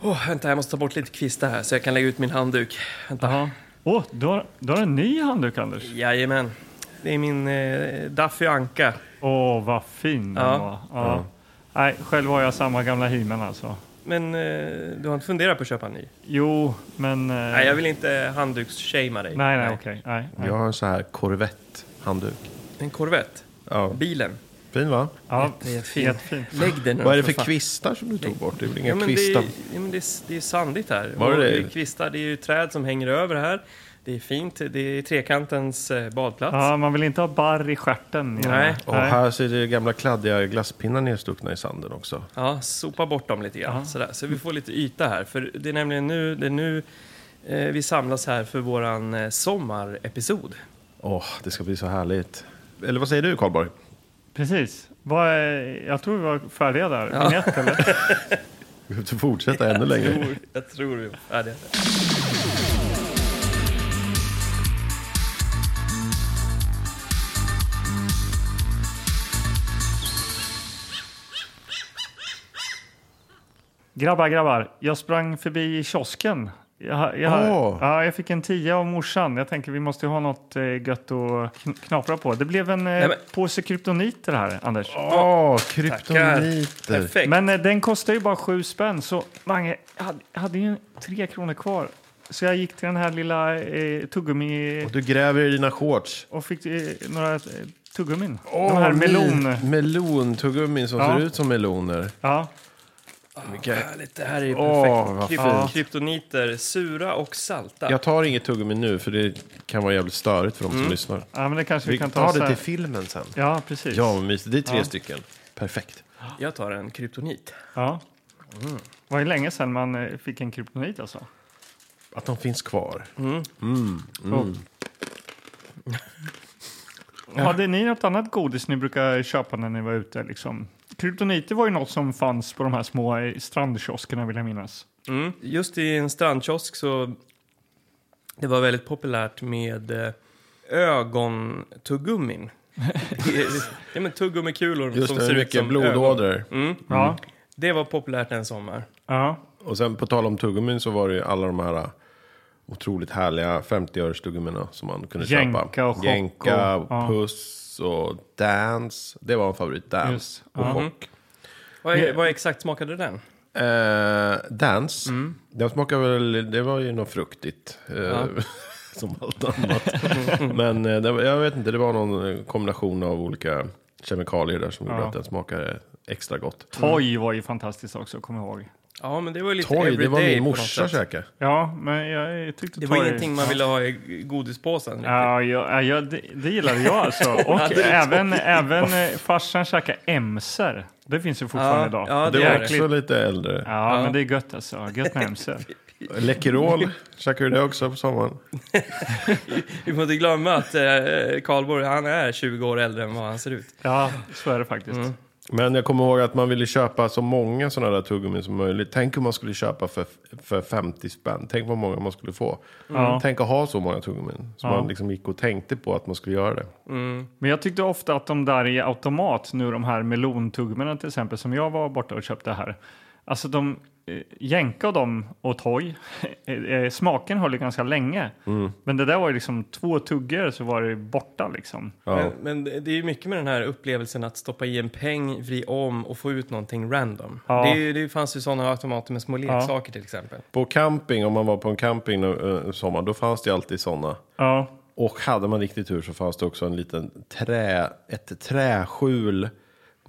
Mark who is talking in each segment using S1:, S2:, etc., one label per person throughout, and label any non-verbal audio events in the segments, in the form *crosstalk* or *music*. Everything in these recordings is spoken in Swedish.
S1: Åh, vänta, jag måste ta bort lite kvistar här så jag kan lägga ut min handduk. Vänta.
S2: Jaha. Åh, du, har, du har en ny handduk Anders.
S1: Jajamän. Det är min eh, Daffy Anka.
S2: Åh, vad fin den
S1: Ja.
S2: var. Ja. Nej, själv har jag samma gamla himen alltså.
S1: Men eh, du har inte funderat på att köpa en ny?
S2: Jo, men... eh,
S1: Nej, jag vill inte handduksshamea dig.
S2: Nej, nej, okej. Nej, nej.
S3: Mm. Jag har en sån här Corvette-handduk.
S1: En Corvette.
S3: Ja.
S1: Bilen.
S3: Fin va?
S2: Ja,
S1: Jättefin.
S2: jättefint.
S1: Lägg den nu,
S3: Vad är det
S1: fan.
S3: för kvistar som du tog bort? Det är väl inga
S1: Ja, men det,
S3: kvistar?
S1: är, ja, men det, är, det är sandigt här.
S3: Var
S1: Och
S3: det
S1: det
S3: det?
S1: är kvistar, det är ju träd som hänger över här. Det är fint, det är trekantens eh, badplats.
S2: Ja, man vill inte ha barr i stjärten. gärna.
S1: Nej.
S3: Och här ser det gamla kladdiga glasspinnar nedstuckna i sanden också.
S1: Ja, sopa bort dem lite grann.
S2: Ja.
S1: Sådär. Så vi får lite yta här. För det är nämligen nu, det är nu eh, vi samlas här för våran eh, sommarepisod.
S3: Åh, det ska bli så härligt. Eller vad säger du Karlborg?
S2: Precis. Vad är, jag tror vi var färdiga där.
S1: Ja.
S2: Vignett, eller?
S3: Vi behöver fortsätta
S1: *laughs*
S3: ännu längre.
S1: tror, jag tror vi är det.
S2: Grabbar, grabbar. Jag sprang förbi kiosken. Jag, jag,
S3: Åh.
S2: ja, jag fick en tia av morsan. Jag tänker vi måste ju ha något eh, gött att kn- knapra på. Det blev en eh,
S1: men-
S2: påse kryptoniter här, Anders.
S3: Åh,
S1: Tackar.
S3: kryptoniter.
S1: Perfekt.
S2: Men eh, den kostar ju bara sju spänn, så Mange, jag hade, jag hade ju tre kronor kvar. Så jag gick till den här lilla eh, tuggummi
S3: Och du gräver i dina shorts.
S2: och fick eh, några eh, tuggummin.
S3: Åh,
S2: de här
S3: ni-
S2: melon...
S3: Melontuggumin som
S2: Ja.
S3: ser ut som meloner.
S2: Ja,
S1: Mycket härligt, det här är ju
S3: Åh,
S1: perfekt.
S3: vad
S1: Kryp-
S2: fint.
S1: Kryptoniter, sura och salta.
S3: Jag tar inget tuggummi nu för det kan vara jävligt störigt för de som lyssnar.
S2: ja, men det kanske vi,
S3: Vi
S2: kan ta
S3: tar
S2: sen.
S3: det till filmen sen.
S2: Ja, precis.
S3: Ja, vad mysigt. Det är tre
S2: Ja.
S3: stycken. Perfekt.
S1: Jag tar en kryptonit.
S2: Ja.
S3: Mm.
S2: Det var ju länge sedan man eh, fick en kryptonit alltså.
S3: Att de finns kvar.
S2: Hade ni något annat godis ni brukar köpa när ni var ute? Liksom? Kryptoniter var ju något som fanns på de här små eh, strandkioskerna vill jag minnas.
S1: Mm. Just i en strandkiosk så det var väldigt populärt med eh, ögontuggummin. Det är- ja, men tuggummikulor
S3: Just
S1: som
S3: det,
S1: ser ut
S3: mycket
S1: som ögon.
S3: blodådror.
S1: Mm.
S2: Ja.
S1: Det var populärt en sommar.
S2: ja.
S3: Och sen på tal om tuggummin så var det ju alla de här äh, otroligt härliga 50-örestuggumina som man kunde
S2: Jänka
S3: köpa.
S2: och chock
S3: Jänka,
S2: och- ja.
S3: puss och dance. Det var en favorit, dance
S2: Just,
S3: och
S2: ja.
S3: chock.
S1: Vad, är- vad exakt smakade den?
S3: Eh, dance,
S1: Mm.
S3: den smakar väl, det var ju något fruktigt. eh, *laughs* som allt annat. Men eh, det, var- jag vet inte, det var någon eh, kombination av olika kemikalier där som gjorde
S2: Ja.
S3: att den smakade extra gott.
S1: Mm.
S2: Toy var ju fantastiskt också, kommer jag ihåg.
S1: Ja, men det var ju lite
S3: Toy,
S1: everyday
S3: det var min
S1: på något
S3: morsa
S1: sätt.
S3: käkade.
S2: Ja, men jag tyckte
S1: Det var
S2: Toy-
S1: ingenting man ville ha i godispåsen. riktigt.
S2: Ja, jag, ja, jag, det, det gillade
S1: *laughs*
S2: jag alltså. Och även, även eh, farsan käkade emser. Det finns ju fortfarande
S1: Ja,
S2: idag.
S1: ja, det
S3: Det
S1: gör
S3: var
S1: det.
S3: också lite äldre.
S2: Ja, men det är gött alltså. Gött med emser.
S1: *laughs*
S3: Läkerol, käkade du det också på sommaren?
S1: Vi får inte glömma att eh, Karlborg, han är 20 år äldre än vad han ser ut.
S2: Ja, så är det faktiskt.
S1: Mm.
S3: Men jag kommer ihåg att man ville köpa så många sådana där tuggummin som möjligt. Tänk om man skulle köpa för, för 50 spänn. Tänk vad många man skulle få.
S1: Mm.
S2: Ja.
S3: Mm. Tänk att ha så många tuggummin. Så
S2: Ja.
S3: man liksom gick och tänkte på att man skulle göra det.
S2: Men jag tyckte ofta att de där i automat, nu de här melontuggummen till exempel, som jag var borta och köpte här. Alltså de, eh, jänka och dem och Toy, *laughs* eh, eh, smaken höll ju ganska länge. Men det där var ju liksom två tuggor så var det borta liksom.
S3: Ja.
S1: Men, men det- det är ju mycket med den här upplevelsen att stoppa i en peng, vri om och få ut någonting random.
S2: Ja.
S1: Det, är ju- det fanns ju sådana automater med små leksaker till exempel.
S3: På camping, om man var på en camping eh, sommar, då fanns det alltid sådana.
S2: Ja,
S3: Och hade man riktigt tur så fanns det också en liten trä, ett träskjul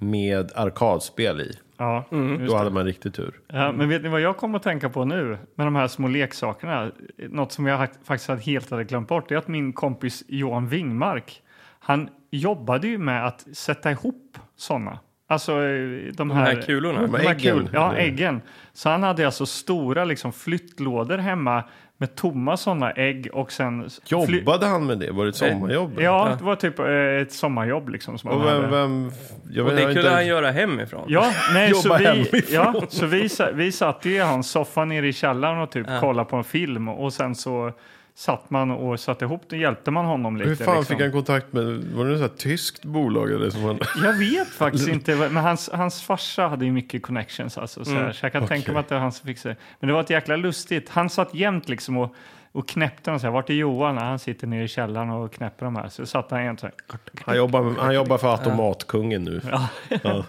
S3: med arkadspel i.
S2: ja.
S3: Då hade man riktigt tur.
S2: Ja, men vet ni vad jag kom att tänka på nu med de här små leksakerna? Något som jag hakt- faktiskt hade- helt hade glömt bort det är att min kompis Johan Wingmark, han jobbade ju med att sätta ihop sådana. Alltså eh, de, de
S1: här
S2: här,
S1: kulorna?
S2: De här
S3: Äggen.
S2: kul, ja, äggen. Så han hade alltså stora liksom, flyttlådor hemma med tomma sådana ägg och sen... s- fly-
S3: Jobbade han med det? Var det ett sommarjobb?
S2: Ja, det var typ eh, ett sommarjobb liksom. Som han
S3: Och vem,
S2: hade.
S3: vem, jag
S1: Och
S3: vet
S1: det
S3: inte
S1: kunde han göra hemifrån.
S2: Ja, nej, så,
S3: Jobba
S2: vi,
S3: hemifrån.
S2: ja, så vi, sa- vi satt ju i hans soffa nere i källaren och typ kollade på en film och sen så satt man och satte ihop det, hjälpte man honom lite.
S3: Hur fan
S2: liksom.
S3: fick han kontakt med, var det något tyskt bolag eller?
S2: *laughs*
S3: Som han,
S2: Jag vet faktiskt inte. vad- Men hans, hans farsa hade ju mycket connections. Alltså, så,
S1: Mm.
S2: här, så jag kan tänka mig att det var han som fixade det. Men det var ett jäkla lustigt. Han satt jämt liksom och, och knäppte dem. Så här, Vart är Johan? Ja, Han sitter nere i källaren och knäpper de här. Så satt han jämt så här.
S3: han, jobbar, med- han jobbar för automatkungen nu.
S1: Ja,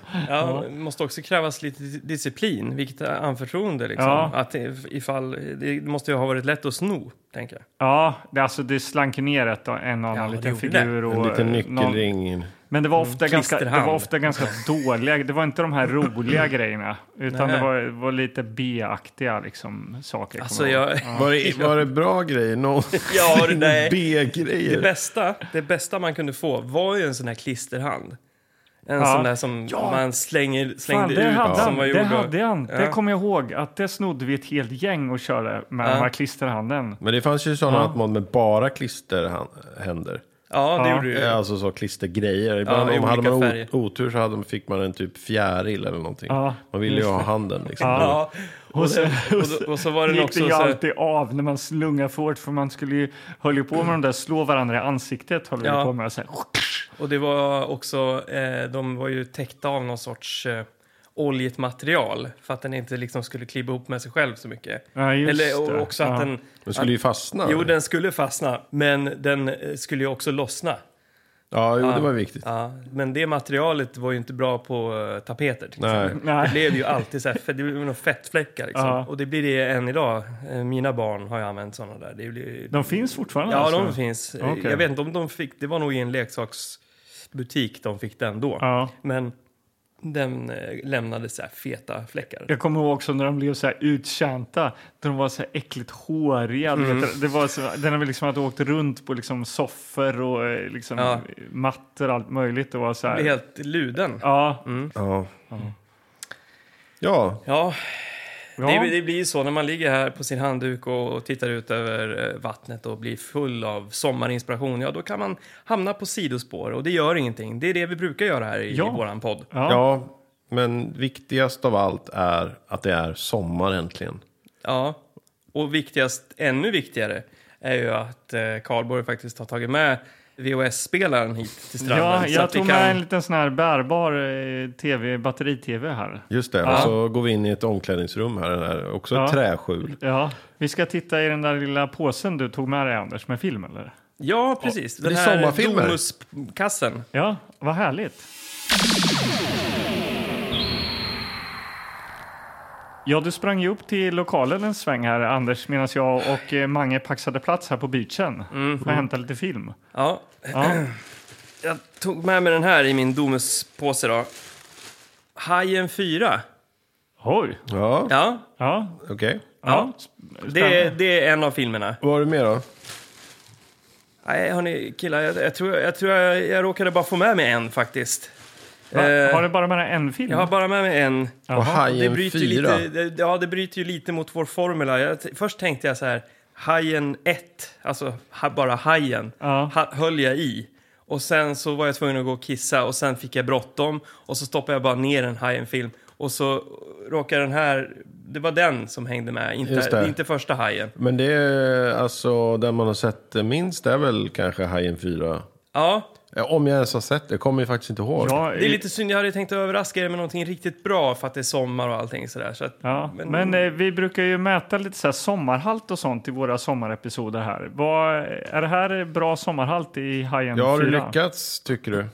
S1: det måste också krävas lite disciplin, vilket är anförtroende. Liksom.
S2: Ja.
S1: Att det- ifall, det måste ju ha varit lätt att sno, tänker jag.
S2: Ja, det, alltså, det slank ner ett, och en och
S1: Ja,
S2: annan
S1: det
S2: liten
S1: gjorde
S2: figur. Och,
S3: En liten
S2: eh, någon-
S3: nyckelring.
S2: Men det var ofta, ganska, det
S1: klisterhand.
S2: var ofta ganska dåliga, det var inte de här roliga grejerna. Utan
S1: Nej.
S2: det var, var lite B-aktiga liksom, saker.
S1: Alltså,
S2: kommer jag ihåg.
S1: jag,
S3: Var, det, var det bra grejer? Någon
S1: *laughs* ja, det, nej. det,
S3: B-grejer?
S1: bästa, det bästa man kunde få var ju en sån här klisterhand. En
S2: Ja.
S1: sån där som man slänger,
S2: Fan,
S1: slängde
S2: det
S1: ut.
S2: hade han,
S1: som var
S2: det
S1: gjord av-
S2: hade han.
S1: Ja.
S2: Det kommer jag ihåg, att det snodde vi ett helt gäng och körde med de här klisterhanden.
S3: Men det fanns ju sådana
S2: Ja.
S3: automat med bara klisterhänder.
S1: Ja, det
S2: Ja.
S1: gjorde du ju.
S3: Ja, Alltså så klistergrejer. Ibland
S1: Ja, i
S3: om hade
S1: olika
S3: man o-
S1: färger.
S3: otur så hade, man- fick man en typ fjäril eller någonting.
S2: Ja,
S3: Man ville ju ha handen liksom.
S1: Ja.
S2: Och så,
S1: Och, då- och så var den
S2: gick det
S1: också
S2: ju
S1: så här,
S2: alltid av när man slungade för hårt för man skulle ju, höll ju på med de där slå varandra i ansiktet. Höll vi
S1: Ja.
S2: på med, så här.
S1: Och det var också, eh, de var ju täckta av någon sorts eh, oljigt material för att den inte liksom skulle klibba ihop med sig själv så mycket.
S2: Ja, just
S1: Eller och
S2: det.
S1: också att
S2: Ja.
S1: den...
S3: Den skulle ju fastna.
S1: Jo, den skulle fastna, men den eh, skulle ju också lossna.
S3: Ja, jo, det var viktigt.
S1: Ja, men det materialet var ju inte bra på eh, tapeter. Till
S3: Nej.
S1: exempel.
S2: Nej.
S1: Det blev ju alltid så här, för det blev några fettfläckar liksom.
S2: Ja.
S1: Och det blir det än idag. Eh, Mina barn har ju använt sådana där. Det blir,
S2: De finns fortfarande?
S1: ja,
S2: alltså.
S1: de finns. Eh,
S2: Okej.
S1: Jag vet inte om de fick, det var nog i en leksaksbutik de fick den då.
S2: Ja.
S1: Men den eh, lämnade så här feta fläckar.
S2: Jag kommer ihåg också när de blev så här uttjänta. De var så här äckligt håriga. du
S1: Mm.
S2: Vet, du. det var så, den har vi liksom hade åkt runt på liksom soffor och eh, liksom
S1: Ja.
S2: mattor och allt möjligt. Och var så
S1: Jag
S2: här,
S1: blev helt Mm. luden.
S2: ja,
S3: Ja. Ja,
S1: Ja,
S2: ja.
S1: Det, det blir ju så när man ligger här på sin handduk och, och tittar ut över eh, vattnet och blir full av sommarinspiration. Ja, då kan man hamna på sidospår och det gör ingenting. Det är det vi brukar göra här i,
S2: Ja.
S1: i våran podd.
S2: ja.
S3: ja. Men viktigast av allt är att det är sommar äntligen.
S1: Ja, och viktigast, ännu viktigare, är ju att eh, Karlborg faktiskt har tagit med VHS-spelaren hit till stranden.
S2: Ja,
S1: så
S2: jag
S1: att vi
S2: tog
S1: kan...
S2: med en liten sån här bärbar eh, TV, batteri-TV här.
S3: Just det, och så går vi in i ett omklädningsrum här, här också
S2: Ja.
S3: ett träskjul.
S2: Ja, vi ska titta i den där lilla påsen du tog med dig Anders med film eller?
S1: Ja, precis. Den
S3: det är
S1: här
S3: sommarfilmer.
S1: Domus-kassen.
S2: Ja, vad härligt. Ja, du sprang ju upp till lokalen en sväng här Anders medan jag och eh, Mange paxade plats här på beachen
S1: Mm.
S2: för att hämta lite film.
S1: Ja.
S2: Ja.
S1: *clears throat* Jag tog med mig den här i min Domus-påse då. Hajen 4.
S2: Oj!
S3: Ja,
S1: Ja,
S2: Ja,
S3: okej.
S2: ja.
S1: Det, är- det är en av filmerna.
S3: Vad har du mer då?
S1: Nej, hörni killar, jag, jag tror, jag, tror jag, jag råkade bara få med mig en faktiskt.
S2: Va,
S1: Eh,
S2: har du bara med dig en film?
S1: Jag har bara med mig en.
S3: Och
S2: Jaha.
S1: Det
S3: Hajen
S1: bryter, ju
S3: 4.
S1: lite, det, ja, det bryter ju lite mot vår formula. Jag, t- först tänkte jag så här, Hajen 1, alltså ha, bara Hajen,
S2: Ja.
S1: ha, höll jag i. Och sen så var jag tvungen att gå och kissa och sen fick jag bråttom och så stoppade jag bara ner en Hajen-film. Och så råkade den här, det var den som hängde med,
S3: Just
S1: inte,
S3: det.
S1: inte första Hajen.
S3: Men det är alltså den man har sett minst är väl kanske Hajen 4.
S1: Ja,
S3: Ja, Om jag ens har sett det, kommer jag faktiskt inte ihåg.
S2: Ja,
S1: Det är lite synd, jag hade tänkt överraska er med någonting riktigt bra för att det är sommar och allting sådär. Så att,
S2: Ja, men, eh, vi brukar ju mäta lite så här sommarhalt och sånt i våra sommarepisoder här. Vad, är det här bra sommarhalt i Hajen
S3: Ja, har du
S2: 4?
S3: lyckats tycker du?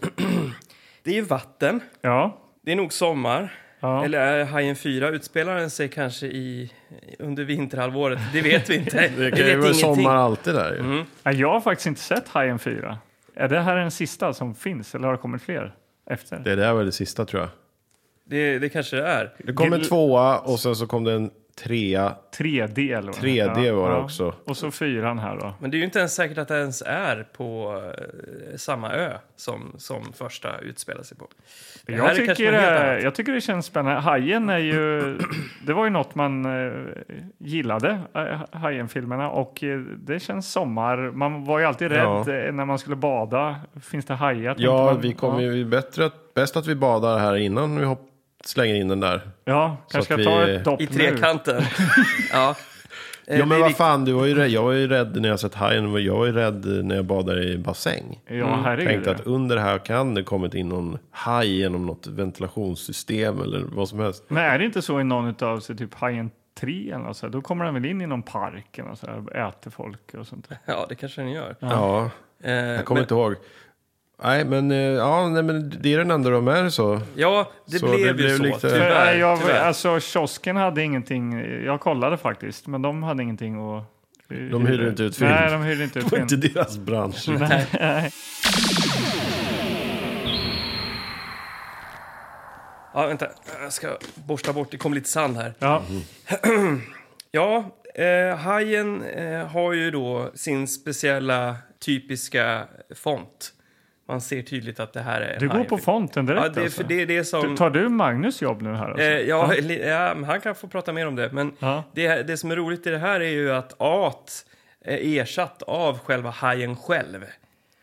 S1: Det är ju vatten,
S2: Ja,
S1: det är nog sommar.
S2: ja.
S1: Eller är Hajen 4, utspelar den sig kanske i, under vinterhalvåret? Det vet vi inte.
S3: *laughs* Det
S1: Vi
S3: kan ju
S1: vet
S3: vara
S1: ingenting. Mm.
S3: sommar alltid där ju.
S2: Ja, Jag har faktiskt inte sett Hajen 4. Är det här den sista som finns eller har det kommit fler efter?
S3: Det där var det sista tror jag.
S1: Det, det kanske det är.
S3: Det kom en
S2: Det-
S3: tvåa och sen så kom det en trea.
S2: 3D eller vad
S3: 3D var det också.
S2: Och så fyran här då.
S1: Men det är ju inte ens säkert att det ens är på eh, samma ö som, som första utspelar sig på. Det här är
S2: Jag
S1: kanske
S2: tycker,
S1: något helt
S2: det,
S1: annat.
S2: jag tycker det känns spännande. Hajen är ju, *clears throat* det var ju något man eh, gillade, eh, Hajen-filmerna. Och eh, det känns sommar. Man var ju alltid
S3: Ja.
S2: rädd eh, när man skulle bada. Finns det hajar? tänkte
S3: Ja,
S2: man.
S3: vi kommer
S2: ja.
S3: ju bättre att, bäst att vi badar här innan vi hopp, slänger in den där.
S2: Ja,
S3: att
S2: kanske ska
S3: vi- *laughs*
S2: ta ett dopp
S1: I
S2: nu.
S1: trekanten. ja. Eh,
S3: Ja
S1: det
S3: men
S1: är
S3: vad
S1: vikt-
S3: fan, du var ju rädd. jag var ju rädd när jag sett hajen. och Jag var ju rädd när jag badade i bassäng.
S2: Ja, herregud.
S3: Mm. Tänkte att under här kan det kommit in någon haj genom något ventilationssystem eller vad som helst.
S2: Men är det inte så i någon av sig, typ Hajen 3 eller något så här, då kommer den väl in i någon park eller något så här, och äter folk och sånt där.
S1: Ja, det kanske den gör.
S3: Ja,
S1: Eh,
S3: jag kommer inte ihåg. Nej men, eh, ja, nej, men det är den enda de är så.
S1: Ja, det
S3: Så
S1: blev
S3: det
S1: ju
S3: blev
S1: så.
S3: lite-
S2: För,
S1: Tyvärr.
S2: eh, jag,
S1: tyvärr.
S2: Alltså kiosken hade ingenting, jag kollade faktiskt, men de hade ingenting att... eh,
S3: De hyrde inte ut film.
S2: Nej, de hyrde
S3: *laughs*
S2: inte ut
S3: Det var
S2: film.
S3: inte
S1: *laughs*
S3: deras bransch.
S1: Ja, vänta. Jag ska borsta bort. Det kom lite sand här.
S2: Ja,
S3: Mm.
S1: Ja, eh, hajen eh, har ju då sin speciella typiska font. Man ser tydligt att det här är en
S2: du går
S1: haj.
S2: på fonten direkt
S1: Ja, det, är-
S2: alltså.
S1: för det är det som...
S2: Du- Tar du Magnus jobb nu här? Alltså?
S1: Eh, ja, li- ja, men han kan få prata mer om det. Men
S2: Ja.
S1: det, det som är roligt i det här är ju att at är ersatt av själva hajen själv.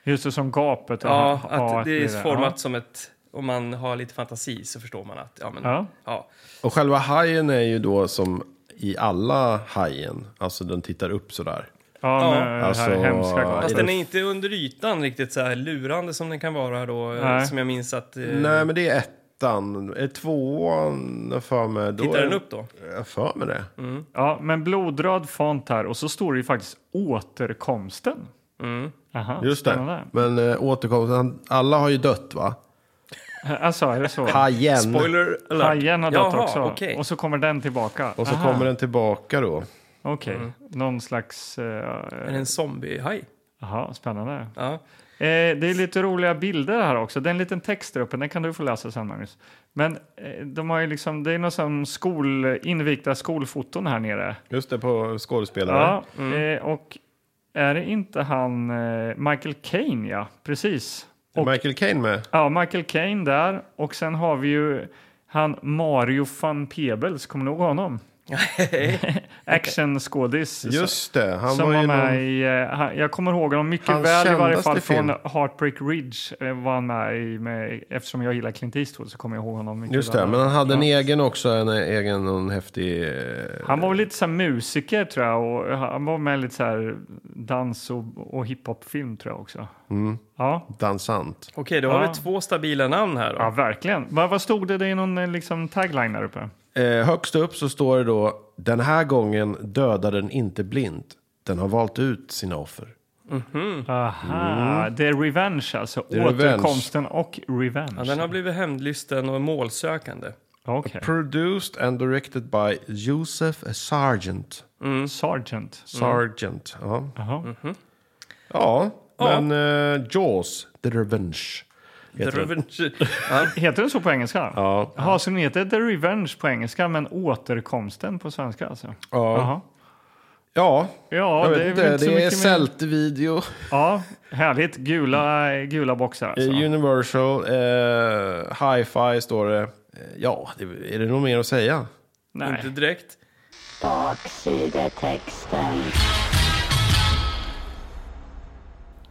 S2: Just det, som gapet. och
S1: Ja,
S2: ha-
S1: att
S2: haet
S1: det
S2: blir
S1: är format som ett... Om man har lite fantasi så förstår man att... Ja, men,
S2: Ja.
S1: ja.
S3: Och själva hajen är ju då som i alla hajen. Alltså den tittar upp sådär.
S2: Ja,
S1: Ja.
S2: ja med
S3: Alltså,
S2: det här hemska gapet.
S1: Fast
S3: det-
S1: den är inte under ytan riktigt så här lurande som den kan vara då, eh,
S2: Nej.
S1: som jag minns att... Eh,
S3: Nej men det är ettan. Är tvåan jag för mig. Då
S1: Tittar
S3: är-
S1: den upp Mm. då?
S3: Jag för mig det.
S2: Ja, men blodröd font här och så står det ju faktiskt återkomsten.
S1: Mm.
S2: Aha,
S3: Just det.
S2: spännande.
S3: Men äh, återkomsten. han- Alla har ju dött va?
S2: Alltså, är det så?
S3: Hajen.
S1: Spoiler alert.
S2: Hajen har dött
S1: Jaha,
S2: också.
S1: okej.
S2: Och så kommer den tillbaka.
S3: Och så
S2: Aha,
S3: kommer den tillbaka då.
S2: Okej,
S1: Mm.
S2: någon slags...
S1: Är
S2: Eh,
S1: det en zombiehaj?
S2: aha, spännande. Eh,
S1: Ja.
S2: det är lite roliga bilder här också. Det är en liten text där uppe, den kan du få läsa sen Magnus. Men eh, de har ju liksom, det är någon som skol, invigda skolfoton här nere.
S3: Just det, på skådespelare.
S2: Ja,
S1: Mm.
S2: eh, och är det inte han eh, Michael Caine, ja, precis.
S3: Är Michael Caine med.
S2: Ja, Michael Caine där och sen har vi ju han Mario van Peebles, kommer ni ihåg honom? Actionskådis.
S3: Just det, han
S2: som
S3: var
S2: var
S3: ju
S2: med
S3: någon...
S2: i, eh, han, jag kommer ihåg honom mycket
S3: Hans
S2: väl i varje
S3: kändaste
S2: fall
S3: film.
S2: från Heartbreak Ridge eh, var han med i, med, eftersom jag gillar Clint Eastwood så kommer jag ihåg honom mycket
S3: Just
S2: väl.
S3: det, men han hade en egen också, en egen någon häftig... eh,
S2: Han var väl lite så här musiker tror jag och han var med i lite så här dans och, och hiphopfilm tror jag också.
S3: Mm.
S2: Ja.
S3: dansant.
S1: Okej, då har
S2: Ja.
S1: vi två stabila namn här då.
S2: ja, verkligen. Vad, vad stod det? Det är någon eh, liksom tagline där uppe.
S3: Eh, högst upp så står det då, den här gången dödar den inte blind. Den har valt ut sina offer.
S2: Aha, det är revenge alltså.
S3: Mm. är revenge.
S2: Återkomsten och
S1: Ja,
S2: revenge.
S1: den har blivit hämndlysten och målsökande.
S2: Okej.
S3: Produced and directed by Joseph eh, Sargent.
S2: Sergeant.
S3: Sargent,
S2: Mm.
S3: ja.
S2: Jaha.
S3: Ja, men eh, Jaws, The Revenge.
S1: The
S3: Heter den.
S1: Revenge. Ja.
S2: Heter den så på engelska?
S3: Ja.
S2: Jaha, så den heter The Revenge på engelska men återkomsten på svenska alltså?
S3: Ja,
S2: Jaha.
S3: ja.
S2: Ja,
S3: jag
S2: det
S3: vet
S2: är väl
S3: inte.
S2: inte så
S3: Det är
S2: mycket mer.
S3: Celt-video.
S2: Ja, härligt. Gula, gula boxar alltså.
S3: Eh, Universal, eh, Hi-Fi står det. Eh, Ja, det, är det något mer att säga?
S1: Inte
S2: *laughs* Nej.
S1: direkt.
S4: Baksidetexten.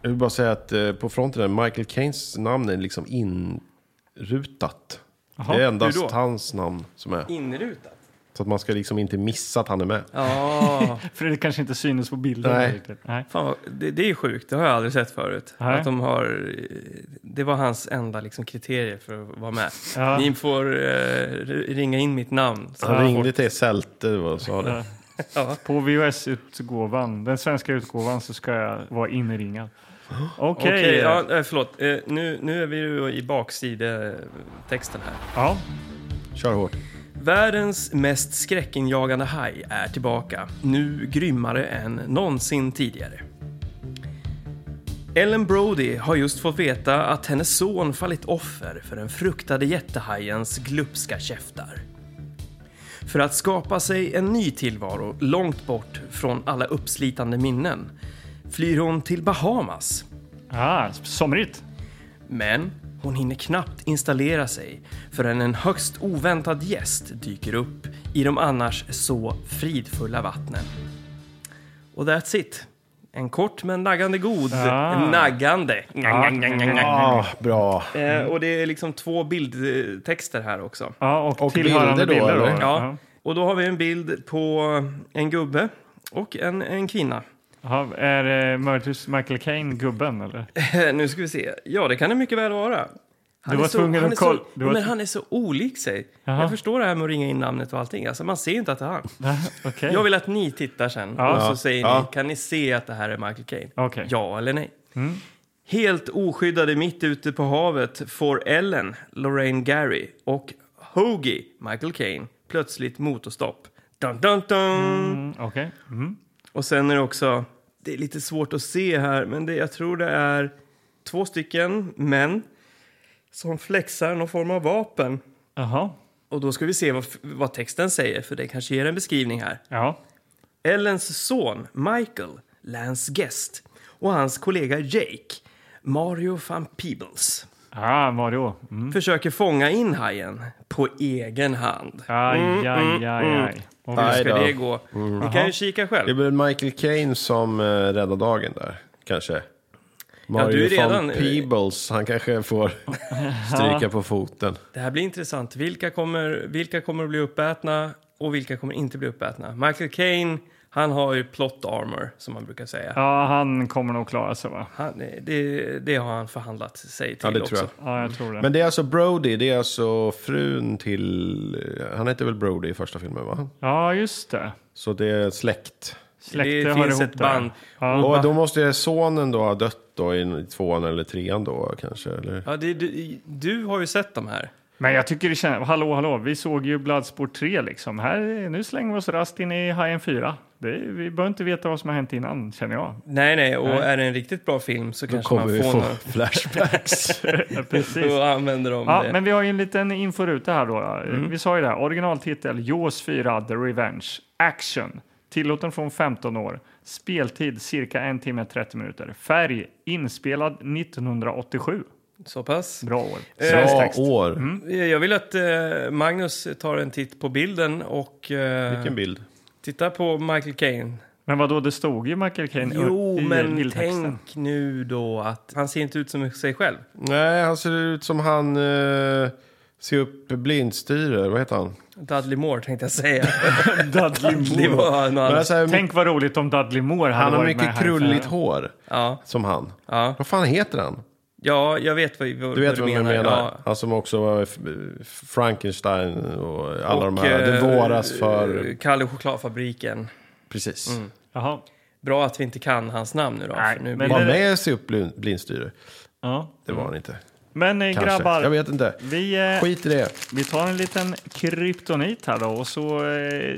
S3: Jag vill bara säga att eh, på fronten där, Michael Keynes namn är liksom inrutat. det är
S1: hur
S3: endast
S1: då?
S3: hans namn som är.
S1: Inrutat.
S3: Så att man ska liksom inte missa att han är med.
S1: Ja,
S2: För det kanske inte synes på bilden.
S3: Nej.
S2: riktigt. Nej.
S1: *laughs* fan, vad- det, det är sjukt. Det har jag aldrig sett förut.
S2: Nej.
S1: Att de har, eh, det var hans enda liksom, kriterier för att vara med.
S2: Ja.
S1: Ni får eh, ringa in mitt namn. Så.
S3: Han
S2: Ja.
S3: ringde till Sälte och sa det.
S1: Ja.
S2: På VHS-utgåvan, den svenska utgåvan, så ska jag vara
S3: *gasps*
S2: inringad. Okej.
S1: Okej, ja, eh, förlåt. Eh, nu, nu är vi ju i baksidetexten här.
S2: ja.
S3: Kör hårt.
S1: Världens mest skräckinjagande haj är tillbaka, nu grymmare än någonsin tidigare. Ellen Brody har just fått veta att hennes son fallit offer för den fruktade jättehajens glupska käftar. För att skapa sig en ny tillvaro långt bort från alla uppslitande minnen flyr hon till Bahamas
S2: Ah, somrigt.
S1: men hon hinner knappt installera sig förrän en högst oväntad gäst dyker upp i de annars så fridfulla vattnen. Och that's it. En kort men naggande god.
S2: Ah.
S1: Naggande.
S3: Ah, bra.
S1: Eh, och det är liksom två bildtexter här också.
S2: Ja, och,
S3: Och
S2: tillhörande
S3: bilder
S2: bilder
S3: då,
S2: då.
S3: eller?
S1: Ja. Och då har vi en bild på en gubbe Och en, en kvinna.
S2: Jaha, är det möjligtvis Michael Caine,
S1: *laughs*
S2: gubben eller?
S1: Eh, nu ska vi se. Ja, det kan det mycket väl vara. Han
S2: Du var
S1: är så,
S2: tvungen
S1: han
S2: att
S1: är så-
S2: kolla- du var-
S1: Men han är så olik sig.
S2: Jaha.
S1: Jag förstår det här med att ringa in namnet och allting. Alltså, man ser inte att det är han.
S2: Nej, Okej.
S1: Jag vill att ni tittar sen
S2: Ja.
S1: och
S3: Ja.
S1: så säger
S3: Ja.
S1: ni, kan ni se att det här är Michael Caine?
S2: Okej.
S1: Ja eller nej?
S2: Mm.
S1: Helt oskyddade mitt ute på havet får Ellen, Lorraine Gary och Hoagie, Michael Caine, plötsligt motorstopp. Dun, dun, dun.
S2: Mm, okej. Mm.
S1: Och sen är det också, det är lite svårt att se här, men det, jag tror det är två stycken män som flexar någon form av vapen.
S2: Jaha.
S1: Och då ska vi se vad, vad texten säger, för det kanske ger en beskrivning här.
S2: Ja.
S1: Ellens son Michael, Lance Guest och hans kollega Jake, Mario van Peebles,
S2: Ah, Mario. Mm.
S1: försöker fånga in hajen på egen hand.
S2: Aj,
S1: mm.
S2: aj, aj, aj. Och
S1: Hur
S3: Aj
S1: ska
S3: då.
S1: det gå? Ni kan ju kika
S3: Det är
S1: själv.
S3: väl Michael Caine som eh, räddar dagen där, kanske. Mario
S1: du är redan-
S3: van Peebles, han kanske får stryka på foten.
S1: Det här blir intressant. Vilka kommer, vilka kommer att bli uppätna och vilka kommer inte bli uppätna? Michael Caine, han har ju plot armor, som man brukar säga.
S2: Ja, han kommer nog klara sig va?
S1: Han, det, det har han förhandlat sig till
S3: Ja, det
S1: också.
S3: tror jag.
S2: Ja, jag tror det.
S3: Men det är alltså Brody, det är alltså frun till... Han hette väl Brody i första filmen, va?
S2: Ja, just det.
S3: Så det är släkt.
S2: Släkte
S1: Det
S2: hör
S1: finns
S2: ihop
S1: ett
S2: där.
S1: band.
S2: Ja.
S3: Och då måste sonen då ha dött då i tvåan eller trean då kanske? Eller?
S1: Ja, det, du, du har ju sett de här.
S2: Men jag tycker det känns... Hallå, hallå. Vi såg ju Bloodsport 3 liksom. Här, nu slänger vi oss rast in i Hajen 4. Det, vi behöver inte veta vad som har hänt innan,
S1: *laughs*
S2: känner jag.
S1: Nej, nej, och är det en riktigt bra film så kanske
S3: Kommer
S1: man
S3: vi
S1: får
S3: få
S1: några.
S3: *laughs* flashbacks?
S2: Ja, Precis.
S1: Då använder de
S2: Ja,
S1: det.
S2: men vi har ju en liten inforuta här då. Vi sa ju det här, originaltitel Jaws 4 The Revenge. Action. Tillåten från 15 år. Speltid cirka en timme 30 minuter. Färg inspelad 1987.
S1: Så pass.
S2: Bra år. Svensk
S3: Bra
S2: text.
S3: år.
S2: Mm.
S1: Jag vill att eh, Magnus tar en titt på bilden och eh,
S3: Vilken bild.
S1: titta på Michael Caine.
S2: Men vadå, det stod ju Michael Caine
S1: Jo,
S2: i
S1: men
S2: bildtexten.
S1: tänk nu då att han ser inte ut som sig själv.
S3: Nej, han ser ut som han... Eh, ser upp blindstyre, vad heter han?
S1: Dudley Moore tänkte jag
S3: *laughs*
S1: säga.
S2: *laughs* Dudley
S1: Det
S2: Moore.
S1: var något
S3: Men
S1: annat.
S3: alltså, han
S2: Tänk vad roligt om Dudley Moore hade
S3: han har
S2: varit med
S3: mycket
S2: här.
S3: krulligt hår,
S1: Ja,
S3: som han.
S1: ja.
S3: Vad fan heter han?
S1: ja, jag vet vad, vad
S3: Du vet
S1: vad
S3: vad jag menar.
S1: Ja.
S3: Han som också var F- Frankenstein och alla de
S1: Och,
S3: här. Det
S1: eh,
S3: våras för...
S1: Kalle Chokladfabriken.
S3: Precis.
S2: Jaha.
S1: Bra att vi inte kan hans namn nu då.
S2: Nej,
S1: för nu
S2: men-
S1: blir-
S3: Var han med i Se upp blin- blindstyre?
S2: Ja.
S3: Det var han inte.
S2: Men eh,
S3: Kanske. Jag
S2: grabbar,
S3: vet inte.
S2: vi... eh,
S3: Skit i det.
S2: Vi tar en liten kryptonit här då och så, eh,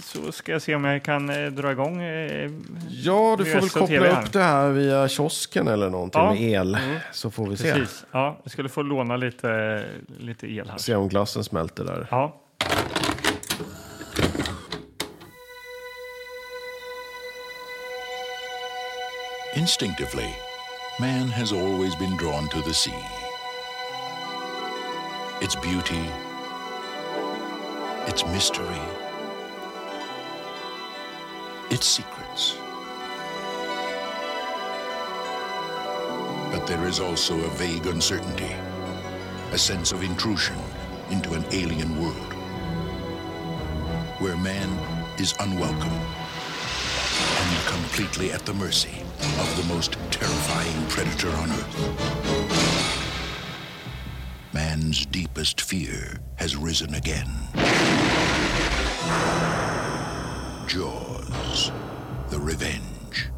S2: så ska jag se om jag kan eh, dra igång. eh,
S3: Ja, du
S2: Vi
S3: får väl
S2: öser TV
S3: koppla
S2: här.
S3: upp det här via kiosken eller någonting
S2: Ja. Mm.
S3: med el. Så får vi se.
S2: Precis. Ja, jag skulle få låna lite, lite el här.
S3: Se om glassen smälter där.
S2: Ja.
S4: Instinctively, man has always been drawn to the sea. Its beauty, its mystery, its secrets. But there is also a vague uncertainty, a sense of intrusion into an alien world where man is unwelcome and completely at the mercy of the most terrifying predator on Earth. Man's deepest fear has risen again. Jaws, the revenge.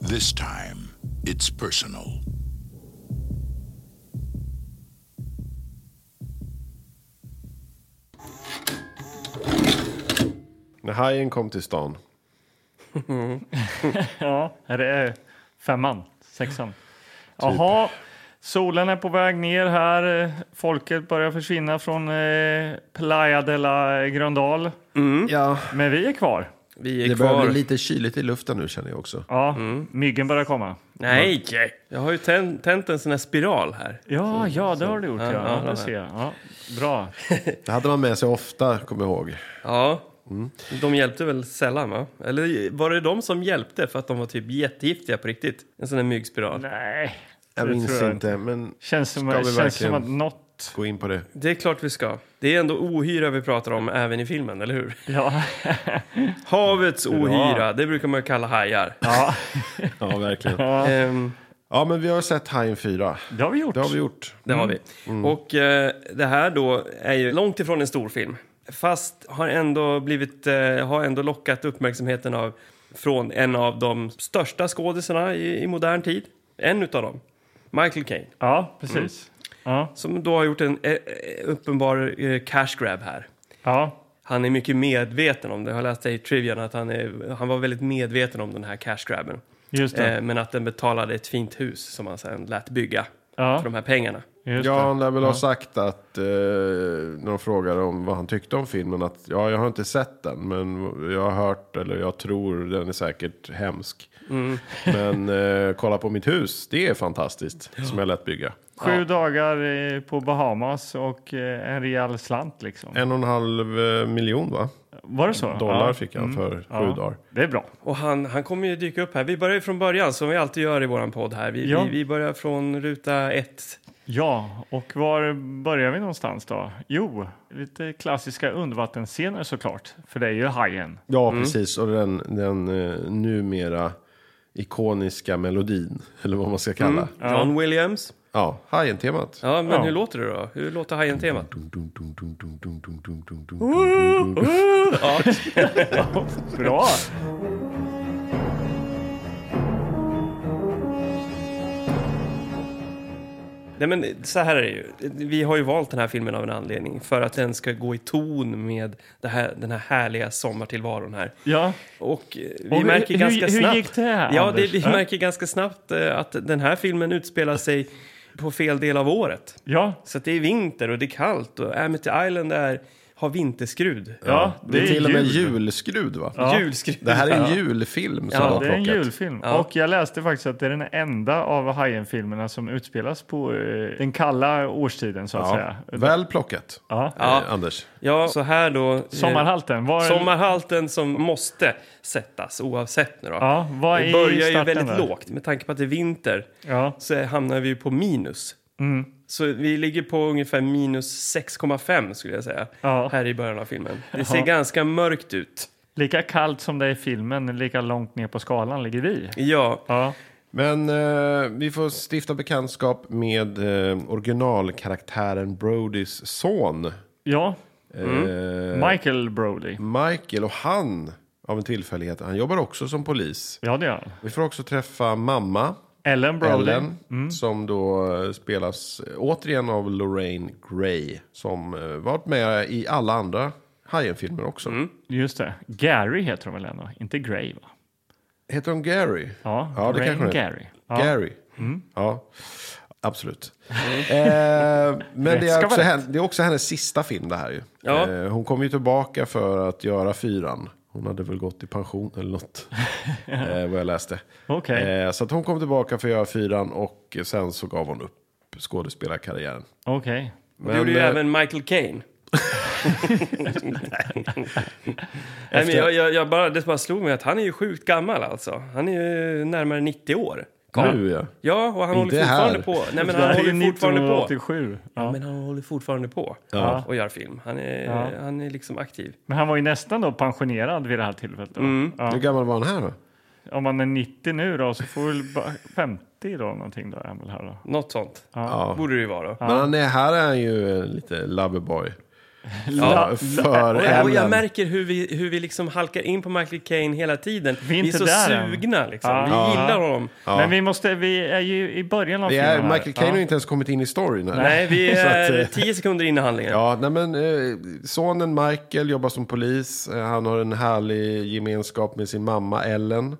S4: This time, it's personal.
S3: När hajen kom till stan.
S2: ja, är det eh, femman, sexan? Jaha, solen är på väg ner här. eh, Folket börjar försvinna från eh, Playa de la Gröndal.
S3: Ja,
S2: Men vi är kvar.
S1: Vi är
S3: det börjar
S1: kvar.
S3: bli lite kyligt i luften nu känner jag också.
S2: Ja, myggen börjar komma.
S1: Nej! Jag har ju tänt, tänt en sån här spiral här.
S2: Ja, ja, det har du gjort. Ja,
S1: ja,
S2: ja,
S1: de
S2: det ser jag. Ja, bra.
S3: Det hade man med sig ofta, kommer jag ihåg.
S1: Ja.
S3: Mm.
S1: De hjälpte väl sällan, va? Eller var det de som hjälpte för att de var typ jättegiftiga på riktigt? En sån där myggspiral.
S2: Nej,
S3: Jag
S2: det
S3: minns
S2: tror jag
S3: inte, men
S2: Känns som,
S3: Ska vi
S2: känns som
S3: verkligen-
S2: att något mat.
S3: Gå in på det.
S1: Det är klart vi ska. Det är ändå ohyra vi pratar om även i filmen, eller hur?
S2: Ja. *laughs*
S1: Havets ohyra, det brukar man ju kalla hajar.
S2: ja,
S3: Ja, verkligen.
S1: Ehm,
S3: Ja, men vi har sett Hajen 4.
S2: det har vi gjort.
S3: Det har vi gjort. Mm.
S1: Det har vi. Och eh, det här då är ju långt ifrån en stor film. Fast har ändå, blivit, eh, har ändå lockat uppmärksamheten av, från en av de största skådisarna i, i modern tid. En utav dem. Michael Caine.
S3: Mm.
S2: Ja, precis. Ja,
S1: Som då har gjort en eh, eh, uppenbar eh, cash grab här.
S2: ja.
S1: Han är mycket medveten om det. Jag har läst det i trivian att han, är, han var väldigt medveten om den här cash grabben.
S2: Just det.
S1: Eh, men att den betalade ett fint hus som han sen lät bygga för
S2: ja,
S1: de här pengarna.
S2: just
S3: Ja,
S2: det.
S3: han lär väl ha sagt att eh, när de frågade om vad han tyckte om filmen att ja, jag har inte sett den, men jag har hört eller jag tror den är säkert hemsk. *laughs* Men eh, kolla på mitt hus, det är fantastiskt som jag lät bygga.
S2: Sju dagar eh, på Bahamas och eh, en rejäl slant liksom.
S3: En och en halv eh, miljon va?
S2: Var det så?
S3: dollar
S2: ja.
S3: fick han för sju
S2: ja.
S3: dagar.
S2: Det är bra.
S1: Och han, han kommer ju dyka upp här. Vi börjar ju från början som vi alltid gör i våran podd här. Vi,
S2: Ja.
S1: vi, vi börjar från ruta ett.
S2: Ja, och var börjar vi någonstans då? Jo, lite klassiska undervattensscener såklart. För det är ju hajen.
S3: Ja, precis. Och den, den eh, numera ikoniska melodin, eller vad man ska kalla.
S1: John Williams.
S3: Ja, Hajen-temat.
S1: Ja, men
S2: Ja.
S1: hur låter det då? Hur låter Hajen-temat?
S2: Bra!
S1: Nej, men så här är det ju. Vi har ju valt den här filmen av en anledning. För att den ska gå i ton med det här, den här härliga sommartillvaron här.
S2: Ja,
S1: Och eh, vi
S2: Och hur-
S1: märker
S2: hur-
S1: ganska
S2: hur
S1: snabbt...
S2: gick det här,
S1: Ja, det,
S2: Anders?
S1: vi
S2: Ja.
S1: märker ganska snabbt eh, att den här filmen utspelar sig på fel del av året.
S2: ja,
S1: Så att det är vinter och det är kallt och Amity Island är, har vinterskrud.
S2: ja.
S3: Det är till och med
S2: jul.
S3: julskrud va?
S2: Ja.
S1: Julskrud.
S3: Det här är en julfilm som
S1: Ja,
S3: de har
S2: Det är en
S3: plockat.
S2: julfilm.
S1: Ja.
S2: Och jag läste faktiskt att det är den enda av Hajen-filmerna som utspelas på eh, den kalla årstiden så att
S3: Ja,
S2: säga.
S3: väl plockat,
S2: Ja.
S1: Ja.
S3: eh, Anders.
S1: Ja, så här då. eh,
S2: Sommarhalten. Var,
S1: Sommarhalten som måste sättas oavsett nu då.
S2: ja, vad är
S1: det börjar ju
S2: starten
S1: väldigt
S2: där?
S1: lågt. Med tanke på att det är vinter
S2: Ja, Mm.
S1: så hamnar vi ju på minus. Så vi ligger på ungefär minus 6,5 skulle jag säga.
S2: Ja.
S1: Här i början av filmen. Det ser ganska mörkt ut.
S2: lika kallt som det är i filmen, lika långt ner på skalan ligger vi.
S1: Ja,
S2: Ja,
S3: Men eh, vi får stifta bekantskap med eh, originalkaraktären Brodys son.
S2: ja.
S1: Mm.
S3: Eh,
S2: Michael Brody.
S3: Michael och han, av en tillfällighet, han jobbar också som polis.
S2: Ja, det gör han.
S3: Vi får också träffa mamma,
S2: Ellen Brody. Mm.
S3: Ellen, som då eh, spelas eh, återigen av Lorraine Gray. Som eh, varit med i alla andra Hajen-filmer också.
S2: Just det. Gary heter hon väl ändå? Inte Gray, va?
S3: Heter hon Gary?
S2: Ja,
S3: Ja, det
S2: Ray
S3: kanske hon heter.
S2: Gary. Ja.
S3: Gary. Ja, absolut. Eh, men det är,
S2: ska
S3: också
S2: vara
S3: hen, det är också hennes sista film det här ju.
S1: Ja.
S3: Eh, hon kom ju tillbaka för att göra fyran. Hon hade väl gått i pension eller något, eh, vad jag läste.
S2: Okej.
S3: Eh, så att hon kom tillbaka för att göra fyran och sen så gav hon upp skådespelarkarriären.
S2: Okej.
S1: det gjorde ju
S3: eh,
S1: även Michael
S3: *laughs*
S1: Caine. Nej, men jag, jag, jag bara, det bara slog mig att han är ju sjukt gammal alltså. Han är ju närmare 90 år.
S3: nu ja.
S1: Ja, och han håller
S3: Inte här.
S1: fortfarande på. Nej, men
S2: Det
S3: *laughs*
S1: han
S2: här är
S1: håller
S2: ju
S1: fortfarande på.
S2: 1987. Ja.
S1: Men han håller fortfarande på
S2: Ja.
S1: och gör film. Han är,
S2: Ja.
S1: han är liksom aktiv.
S2: Men han var ju nästan då pensionerad vid det här tillfället. Då.
S3: Hur
S2: Ja.
S3: gammal var han här då?
S2: Om han är 90 nu då så får väl bara 50 då någonting då är han väl här då.
S1: Något sånt
S3: Ja.
S1: borde det ju vara.
S3: Men han är, här är han ju eh, lite loverboy.
S1: Ja.
S3: För
S1: Och, jag- och jag
S3: Ellen.
S1: märker hur vi, hur vi liksom halkar in på Michael Caine hela tiden.
S2: Vi är
S1: vi är
S2: inte
S1: så
S2: där än.
S1: sugna liksom.
S2: Ja.
S1: Vi
S2: Ja.
S1: gillar honom.
S2: Men vi måste, vi är ju i början av
S3: Det
S2: filmen
S3: är,
S2: här.
S3: Michael Caine har
S2: ja.
S3: inte ens kommit in i storyn här.
S1: Nej, vi
S3: *laughs* Så att,
S1: är
S3: eh,
S1: tio sekunder in i handlingen.
S3: Ja, nej men eh, sonen Michael jobbar som polis. Eh, Han har en härlig gemenskap med sin mamma Ellen.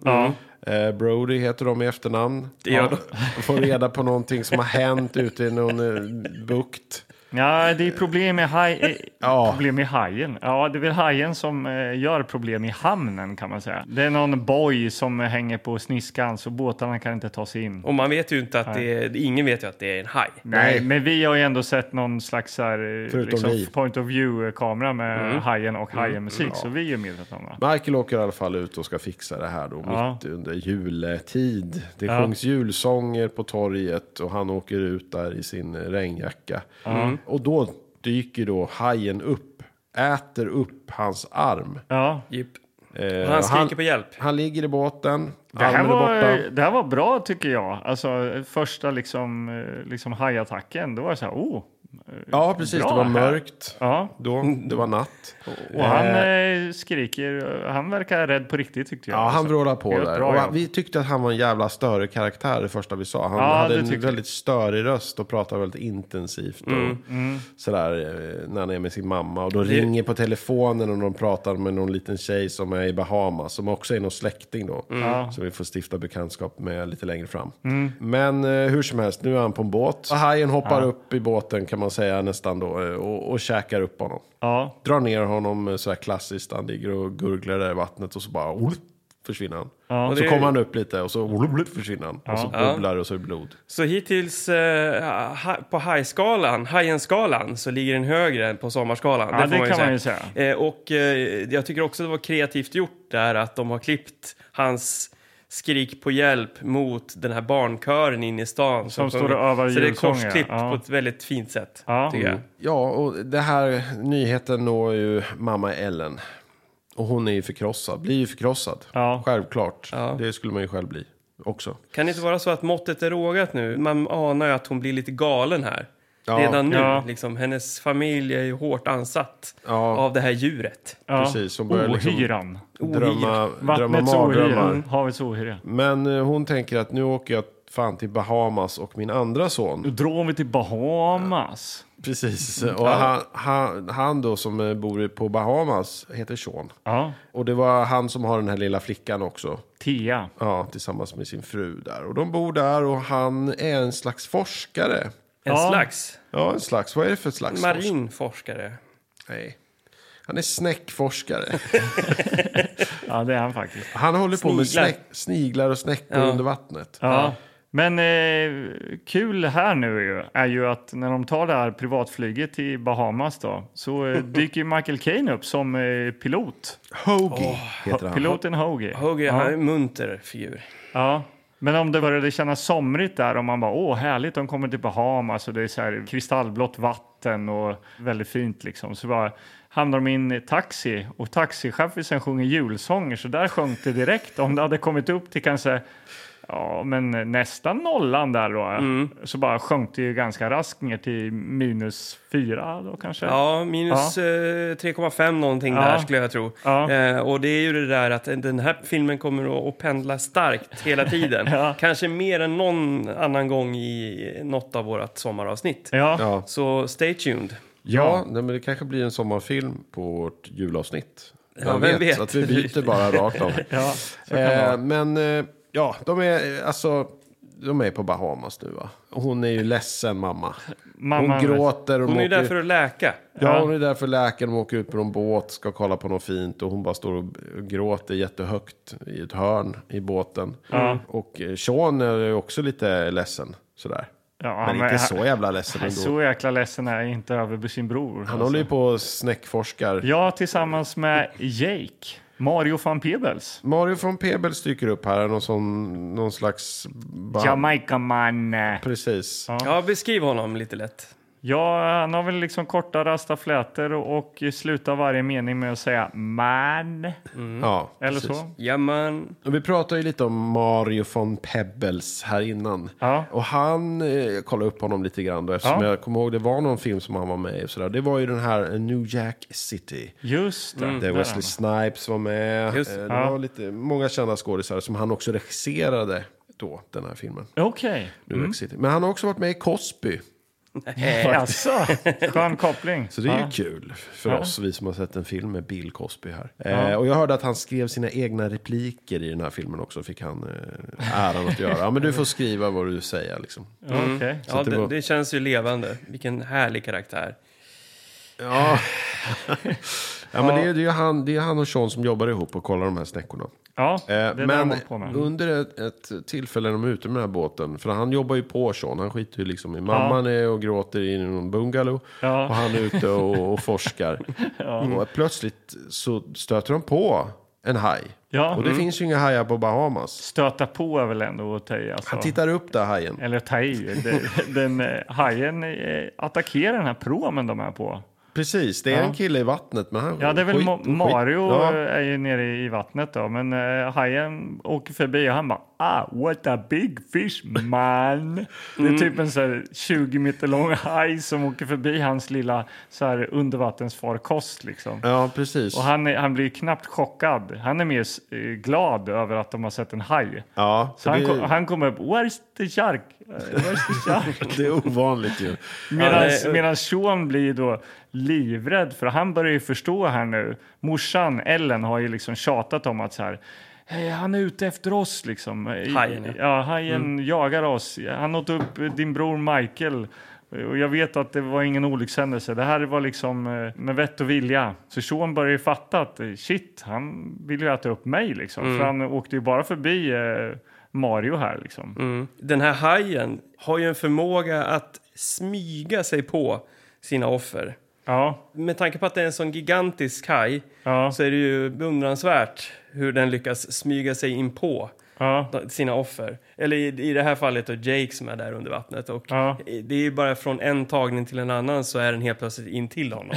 S3: Eh, Brody heter de i efternamn.
S1: Det gör
S3: Får reda på någonting som har hänt ute i någon eh, bukt.
S2: Ja, det är problem med haj, eh,
S3: Ja,
S2: Problem i hajen. Ja, det är väl hajen som eh, gör problem i hamnen kan man säga. Det är någon boj som hänger på sniskan så båtarna kan inte ta sig in.
S1: Och man vet ju inte att det är, ingen vet ju att det är en haj.
S2: Nej, men vi har ju ändå sett någon slags så här, eh,
S3: Förutom vi. Mm.
S2: liksom, point of view-kamera med hajen och hajen-musik, så vi är ju medvetna om det.
S3: Michael åker i alla fall ut och ska fixa det här då
S2: Ja.
S3: mitt under juletid. Det
S2: Ja.
S3: sjungs julsånger på torget och han åker ut där i sin regnjacka. Och då dyker då hajen upp, äter upp hans arm.
S2: Ja,
S1: Jipp.
S3: Eh,
S1: Och han skriker
S3: han,
S1: på hjälp.
S3: han ligger i båten,
S2: Det här,
S3: armen är
S2: var, eh,
S3: borta.
S2: det här var bra tycker jag. Alltså första liksom, eh, liksom hajattacken, då var det så här, oh.
S3: Ja, precis.
S2: Bra
S3: det var
S2: här. Mm.
S3: mörkt
S2: Ja,
S3: då. Det var natt.
S2: och han eh, skriker, eh, han verkar rädd på riktigt tyckte jag.
S3: Ja, han
S2: Alltså,
S3: vrålar på
S2: helt
S3: där.
S2: bra
S3: Och
S2: jobb.
S3: vi tyckte att han var en jävla störig karaktär det första vi Mm, sa. Han
S2: Ja,
S3: hade
S2: det
S3: en
S2: tyckte
S3: väldigt störig röst och pratade väldigt intensivt. Och Sådär eh, när han är med sin mamma. Och då ringer på telefonen och de pratar med någon liten tjej som är i Bahamas. Som också är någon släkting då. Som vi får stifta bekantskap med lite längre fram. Men eh, hur som helst, nu är han på en båt. Och hajen hoppar upp i båten kan man säga nästan då. eh, Och, och käkar upp honom.
S2: Ja,
S3: Drar ner honom eh, sådär klassiskt. Han ligger och gurglar där i vattnet och så bara "Olup", försvinner han.
S1: Och
S3: Så
S1: det-
S3: kommer han upp lite och så "Olup", försvinner han. Och så bubblar det och så är det blod.
S1: Så hittills eh, ha, på hajskalan, hajenskalan, så ligger den högre än på sommarskalan.
S2: Ja, det kan man ju
S1: Eh, och eh, jag tycker också det var kreativt gjort där att de har klippt hans skrik på hjälp mot den här barnkören inne i stan.
S2: Som
S1: sjunger.
S2: står och övar
S1: Så det är
S2: julsånger,
S1: korsklippt
S2: ja.
S1: på ett väldigt fint sätt,
S2: Ja.
S1: tycker jag.
S3: Ja, och det här nyheten når ju mamma Ellen. Och hon är ju förkrossad, blir ju förkrossad.
S2: Ja.
S3: Självklart.
S1: Ja.
S3: Det skulle man ju själv bli också.
S1: Kan det inte vara så att måttet är rågat nu? Man anar ju att hon blir lite galen här.
S3: Ja.
S1: Redan nu.
S2: Ja.
S1: Liksom, hennes familj är ju hårt ansatt
S3: Ja.
S1: av det här djuret.
S2: ja.
S3: Precis, som börjar liksom-
S2: Ohyran.
S3: Drömma, drömma
S2: Vattnets Mm. ohyra,
S3: mardrömmar.
S2: havets ohyra.
S3: Men eh, hon tänker att nu åker jag fan till Bahamas och min andra son.
S2: Då drar vi till Bahamas.
S3: Precis, och han, han, han då som eh, bor på Bahamas heter Sean.
S2: Ja,
S3: Och det var han som har den här lilla flickan också.
S2: Tia.
S3: Ja, tillsammans med sin fru där. Och de bor där och han är en slags forskare.
S1: En
S2: Ja.
S1: slags
S3: Ja, en slags. Vad är det för slags forskare?
S1: marinforskare.
S3: Nej. Han är snäckforskare.
S2: Ja, det är han faktiskt.
S3: Han håller på med
S1: Sniglar.
S3: snäck, sniglar och snäckor
S1: Ja.
S3: under vattnet.
S2: Ja. Men eh, kul här nu är ju, är ju att när de tar det här privatflyget till Bahamas då, så
S3: *laughs*
S2: eh, dyker ju Michael Caine upp som eh, pilot.
S3: Hoagie heter han.
S2: Piloten Hoagie.
S1: Hugger,
S2: ja.
S1: han är en munter figur.
S2: Ja. Men om det började kännas somrigt där, om man bara åh härligt, de kommer till Bahamas och det är så här kristallblått vatten och väldigt fint liksom. Så bara hamnar de in i taxi och taxichauffören sjunger julsånger så där sjönk det direkt. Om det hade kommit upp till kanske Ja, men nästan nollan där då.
S3: Mm.
S2: Så bara sjönk det ju ganska raskt ner till minus fyra då kanske.
S1: Ja, minus eh, 3,5 någonting
S2: Ja.
S1: där skulle jag tro.
S2: Ja.
S1: Eh, och det är ju det där att den här filmen kommer att- att pendla starkt hela tiden.
S2: *laughs* Ja.
S1: Kanske mer än någon annan gång i något av vårat sommaravsnitt.
S2: Ja.
S3: Ja,
S1: Så stay tuned.
S3: ja nej, men det kanske blir en sommarfilm på vårt julavsnitt.
S1: Ja, vem vet?
S3: Att vi byter bara rakt av.
S2: Ja, så kan det
S3: Eh,
S2: vara.
S3: men eh, ja, de är eh, alltså... De är på Bahamas nu va? Hon är ju ledsen mamma. Hon
S2: Mamman-
S3: gråter. Och
S1: Hon är ju där
S3: åker-
S1: för att läka.
S3: Ja, hon är där för läkaren. Hon åker ut på någon båt, ska kolla på något fint. Och hon bara står och gråter jättehögt i ett hörn i båten. Och eh, Sean är ju också lite ledsen. Sådär.
S2: Ja,
S3: men, inte så jävla ledsen
S2: Nej,
S3: ändå.
S2: så jäkla ledsen är jag inte över sin bror.
S3: Han håller ju på och snäckforskar.
S2: Ja, tillsammans med Jake. Mario van Peebles.
S3: Mario från Pebbles dyker upp här. Någon, sån, någon slags... band.
S2: Jamaica-man.
S3: Precis.
S1: Ja, beskriv honom lite lätt.
S2: Ja, han har väl liksom korta rasta flätor och, och slutar varje mening med att säga man.
S3: Ja,
S2: Mm. Eller
S3: precis.
S2: så.
S1: Ja, men...
S3: Och vi pratade ju lite om Mario von Pebbles här innan.
S2: Ja.
S3: Och han, eh, jag kollade upp honom lite grann då, eftersom
S2: Ja.
S3: jag kommer ihåg det var någon film som han var med i. Och sådär. Det var ju den här eh, New Jack City.
S2: Just det.
S3: Där
S2: där
S3: Wesley Snipes var med.
S1: Just-
S3: Eh, det
S2: Ja.
S3: var lite, många kända skådisar som han också regisserade då, den här filmen.
S2: är han. Okej.
S3: New Jack City. Men han har också varit med i Cosby.
S2: Jaså, skön koppling.
S3: Eh. Så det är
S2: Ja.
S3: ju kul för oss, vi som har sett en film med Bill Cosby här. Eh, och jag hörde att han skrev sina egna repliker i den här filmen också, fick han eh, äran att göra. Ja, men du får skriva vad du säger liksom.
S2: Okej.
S1: Ja,
S3: det
S1: det,
S3: var-
S1: det känns ju levande. Vilken härlig karaktär.
S3: Ja, Ja, men det är det är ju han, det är han och Sean som jobbar ihop och kollar de här snäckorna.
S2: Ja, det
S3: Eh,
S2: är det
S3: men
S2: de håller på med.
S3: under ett, ett tillfälle när de är ute med den här båten, för han jobbar ju på Sean, han skiter ju liksom i mamman är och gråter i någon bungalow
S2: Ja.
S3: och han är
S2: *laughs*
S3: ute och, och forskar. Och plötsligt så stöter de på en haj.
S2: Ja.
S3: Och det finns ju inga hajar på Bahamas.
S2: Stöta på är väl ändå att ta i. Alltså.
S3: Han tittar upp där hajen.
S2: Eller ta i. Den, den, eh, hajen eh, attackerar den här promen de är på.
S3: Precis, det är en kille i vattnet. Men han,
S2: Ja, det är väl
S3: skit-
S2: Ma-
S3: skit-
S2: Mario
S3: Ja.
S2: eh, är ju nere i vattnet då, men eh, hajen åker förbi och han bara ah, what a big fish
S3: *laughs*
S2: man. Det
S3: Mm.
S2: är typ en så här 20 meter lång haj som åker förbi hans lilla så här undervattensfarkost liksom.
S3: Ja, precis.
S2: Och han, är, han blir ju knappt chockad. Han är mer s- eh, glad över att de har sett en haj.
S3: ja,
S2: Så
S3: så
S2: han,
S3: det,
S2: kom, han kommer upp, where's the shark? Eh, Where's the shark?
S3: det är
S2: *laughs*
S3: ovanligt ju.
S1: Ja, det-
S2: Medan Sean blir då livrädd, för han börjar ju förstå här nu. Morsan, Ellen, har ju liksom tjatat om att så här, "Hej, han är ute efter oss liksom.
S1: Hajen, ja. Mm.
S2: ja. Hajen jagar oss. Han åt upp eh, din bror Michael. Och jag vet att det var ingen olyckshändelse. Det här var liksom eh, med vett och vilja. Så Sean börjar ju fatta att eh, shit, han vill ju äta upp mig liksom.
S1: Mm.
S2: För han åkte ju bara förbi eh, Mario här liksom.
S1: Mm. Den här hajen har ju en förmåga att smyga sig på sina offer.
S2: Ja,
S1: Med tanke på att det är en sån gigantisk haj
S2: ja,
S1: så är det ju beundransvärt hur den lyckas smyga sig in på
S2: ja.
S1: sina offer. Eller i, i det här fallet då Jake som är där under vattnet. Och
S2: Ja.
S1: Det är ju bara från en tagning till en annan så är den helt plötsligt in till
S2: *laughs*
S1: honom.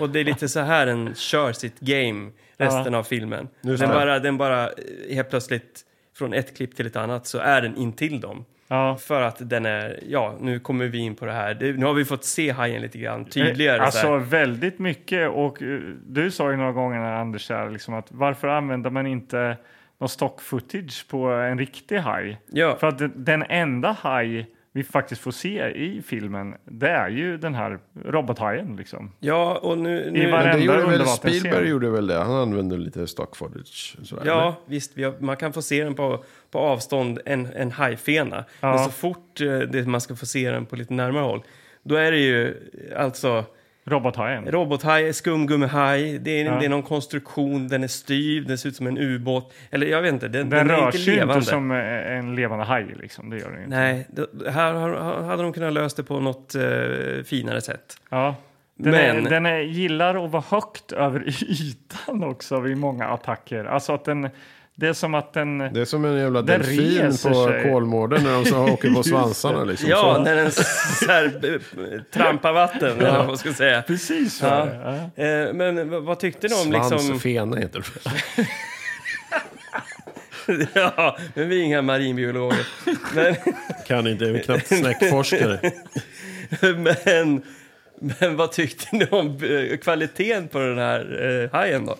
S1: och det är lite så här den kör sitt game resten av filmen. Den
S3: Just det.
S1: bara, den bara eh, helt plötsligt från ett klipp till ett annat så är den in till dem.
S2: ja.
S1: För att den är, ja, nu kommer vi in på det här. Det, nu har vi fått se hajen lite grann tydligare.
S2: Eh,
S1: så
S2: Alltså
S1: här.
S2: väldigt mycket. Och eh, du sa ju några gånger Anders här, liksom att varför använder man inte någon stock footage på en riktig haj?
S1: Ja.
S2: För att den- den enda haj vi faktiskt får se i filmen, det är ju den här robothajen liksom.
S1: ja, och nu...
S2: I
S1: nu
S2: varenda
S3: Men det gjorde väl,
S2: undervattensscen.
S3: Spielberg gjorde väl det. Han använde lite stock footage. Sådär.
S1: Ja, visst. Vi har, man kan få se den på, på avstånd, en, en hajfena.
S2: Ja.
S1: Men så fort eh, det, man ska få se den på lite närmare håll, då är det ju eh, alltså
S2: Robothajen.
S1: robothaj, skumgummihaj, det är, det är någon konstruktion, den är styv, den ser ut som en ubåt. Eller jag vet inte, den,
S2: den,
S1: den, är
S2: rör
S1: inte
S2: sig ju
S1: levande.
S2: inte som eh, en levande haj liksom, det gör den ju inte.
S1: Nej, det- här har- hade de kunnat lösa det på något eh, finare sätt.
S2: Ja. Den,
S1: Men-
S2: är, den är, gillar att vara högt över *laughs* ytan också vid många attacker. Alltså att den, det är som att den...
S3: Det är som en jävla
S2: Den
S3: delfin
S2: reser
S3: på
S2: sig.
S3: Kolmården när
S2: *laughs*
S3: de så åker på
S2: Just
S3: svansarna. Liksom.
S1: Ja,
S3: så.
S1: när den så här, b- b- trampar vatten, eller vad man ska säga.
S2: Precis så
S1: Ja.
S2: är det. Ja.
S1: Eh, men v- vad tyckte ni om
S3: Svans
S1: liksom...
S3: och fena heter det.
S1: *laughs*
S2: *laughs*
S1: Ja, men vi är inga marinbiologer. *laughs* Men,
S3: Kan inte, jag är knappt snäckforskare.
S1: men, men vad tyckte ni om eh, kvaliteten på den här eh, hajen då?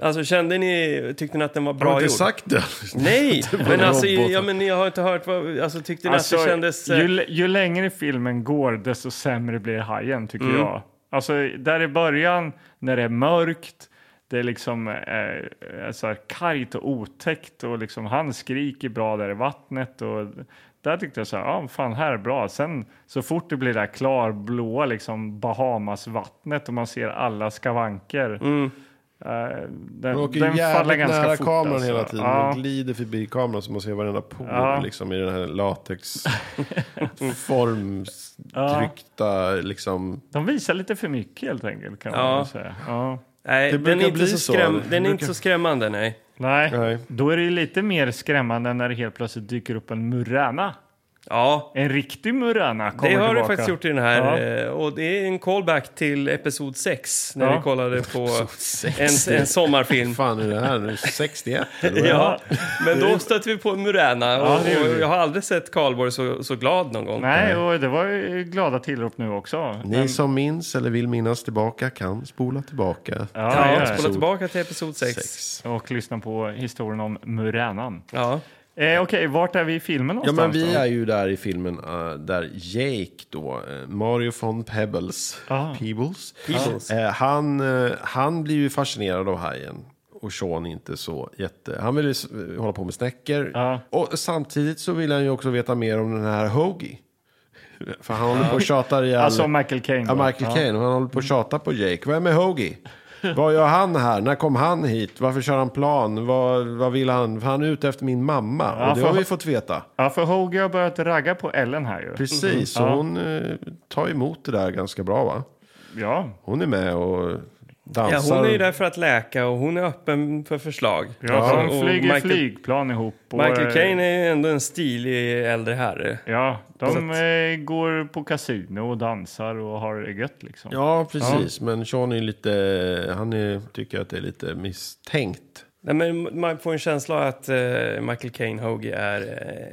S1: Alltså kände ni, tyckte ni att den var
S3: Har
S1: bra
S3: du inte
S1: gjord?
S3: sagt det? *laughs*
S1: Nej,
S3: var
S1: men
S3: en
S1: alltså,
S3: robot.
S1: ja, men jag har inte hört vad, alltså tyckte ni
S2: Alltså,
S1: att det kändes... eh,
S2: ju, l- ju längre filmen går, desto sämre blir hajen, tycker
S1: Mm.
S2: jag. Alltså, där i början, när det är mörkt, det är liksom eh, så här kargt och otäckt och liksom, han skriker bra där i vattnet. Och där tyckte jag så här, ja, fan här är bra. Sen så fort det blir det här klarblåa liksom, Bahamasvattnet och man ser alla skavanker.
S1: Mm.
S2: eh, den
S3: De åker
S2: den
S3: ju
S2: faller
S3: jävligt
S2: ganska
S3: nära
S2: fort.
S3: kameran
S2: alltså.
S3: hela tiden.
S2: Ja.
S3: De glider förbi kameran så man ser varenda por
S2: Ja.
S3: liksom, i den
S2: *laughs*
S3: här latex formstryckta liksom.
S2: De visar lite för mycket helt enkelt kan
S1: Ja.
S2: man väl säga. Ja.
S1: nej,
S3: det
S1: den
S3: brukar
S1: är, inte
S3: bli
S1: så
S3: så,
S1: skräm,
S3: det
S1: den är inte
S3: brukar-
S1: så skrämmande, nej.
S2: Nej.
S3: Nej.
S2: då är det ju lite mer skrämmande när det helt plötsligt dyker upp en murräna.
S1: Ja,
S2: En riktig murräna kommer
S1: det har
S2: tillbaka.
S1: du faktiskt gjort i den här.
S2: Ja.
S1: eh, Och det är en callback till episod 6 när
S2: Ja.
S1: vi kollade på
S3: sex.
S1: en, en sommarfilm.
S3: fan är det här nu? 61? eller vad?
S1: Ja, men då stötte vi på Murana och,
S2: Ja, det gjorde
S1: och
S2: vi.
S1: jag har aldrig sett Karlborg så, så glad någon gång.
S2: Nej, och det var ju glada tillrop nu också.
S3: Ni som minns eller vill minnas tillbaka kan spola tillbaka.
S2: Ja,
S1: Ja,
S2: ja,
S1: spola tillbaka till episod 6.
S3: Sex.
S2: Och lyssna på historien om murränan.
S1: Ja.
S2: Eh, Okej, vart är vi i filmen
S3: Ja, men
S2: någonstans?
S3: vi
S2: då?
S3: är ju där i filmen eh, där Jake då, eh, Mario von Pebbles,
S2: Ah.
S3: Peebles,
S1: Peebles.
S3: Eh, han, eh, han blir ju fascinerad av hajen. Och Sean inte så jätte... Han vill ju s- hålla på med snäckor.
S2: Ja.
S3: Och samtidigt så vill han ju också veta mer om den här Hoagie. *laughs* För han håller på och tjatar ihjäl...
S2: Alltså Michael Caine.
S3: ja,
S2: va?
S3: Michael Caine. Han håller på och tjatar på Jake. Vem är Hoagie? Vad gör han här? När kom han hit? Varför kör han plan? Vad, vad vill han? Han är ute efter min mamma.
S2: Ja,
S3: och det
S2: för-
S3: har vi fått veta.
S2: Ja, för Hoagie har börjat ragga på Ellen här ju.
S3: Precis, så hon eh, tar emot det där ganska bra va?
S2: Ja,
S3: Hon är med och dansar.
S1: Ja, hon är ju där för att läka och hon är öppen för förslag.
S2: ja, för de
S1: och
S2: flyger
S1: Michael-
S2: flygplan ihop. Och, eh,
S1: Michael Caine är ju ändå en stilig äldre herre.
S2: Ja,
S1: Så
S2: de
S1: att-
S2: eh, går på kasino och dansar och har det gött liksom.
S3: Ja, precis. Men Sean är lite, han är, tycker att det är lite misstänkt.
S1: Nej, men man får en känsla av att eh, Michael Caine Hoagie är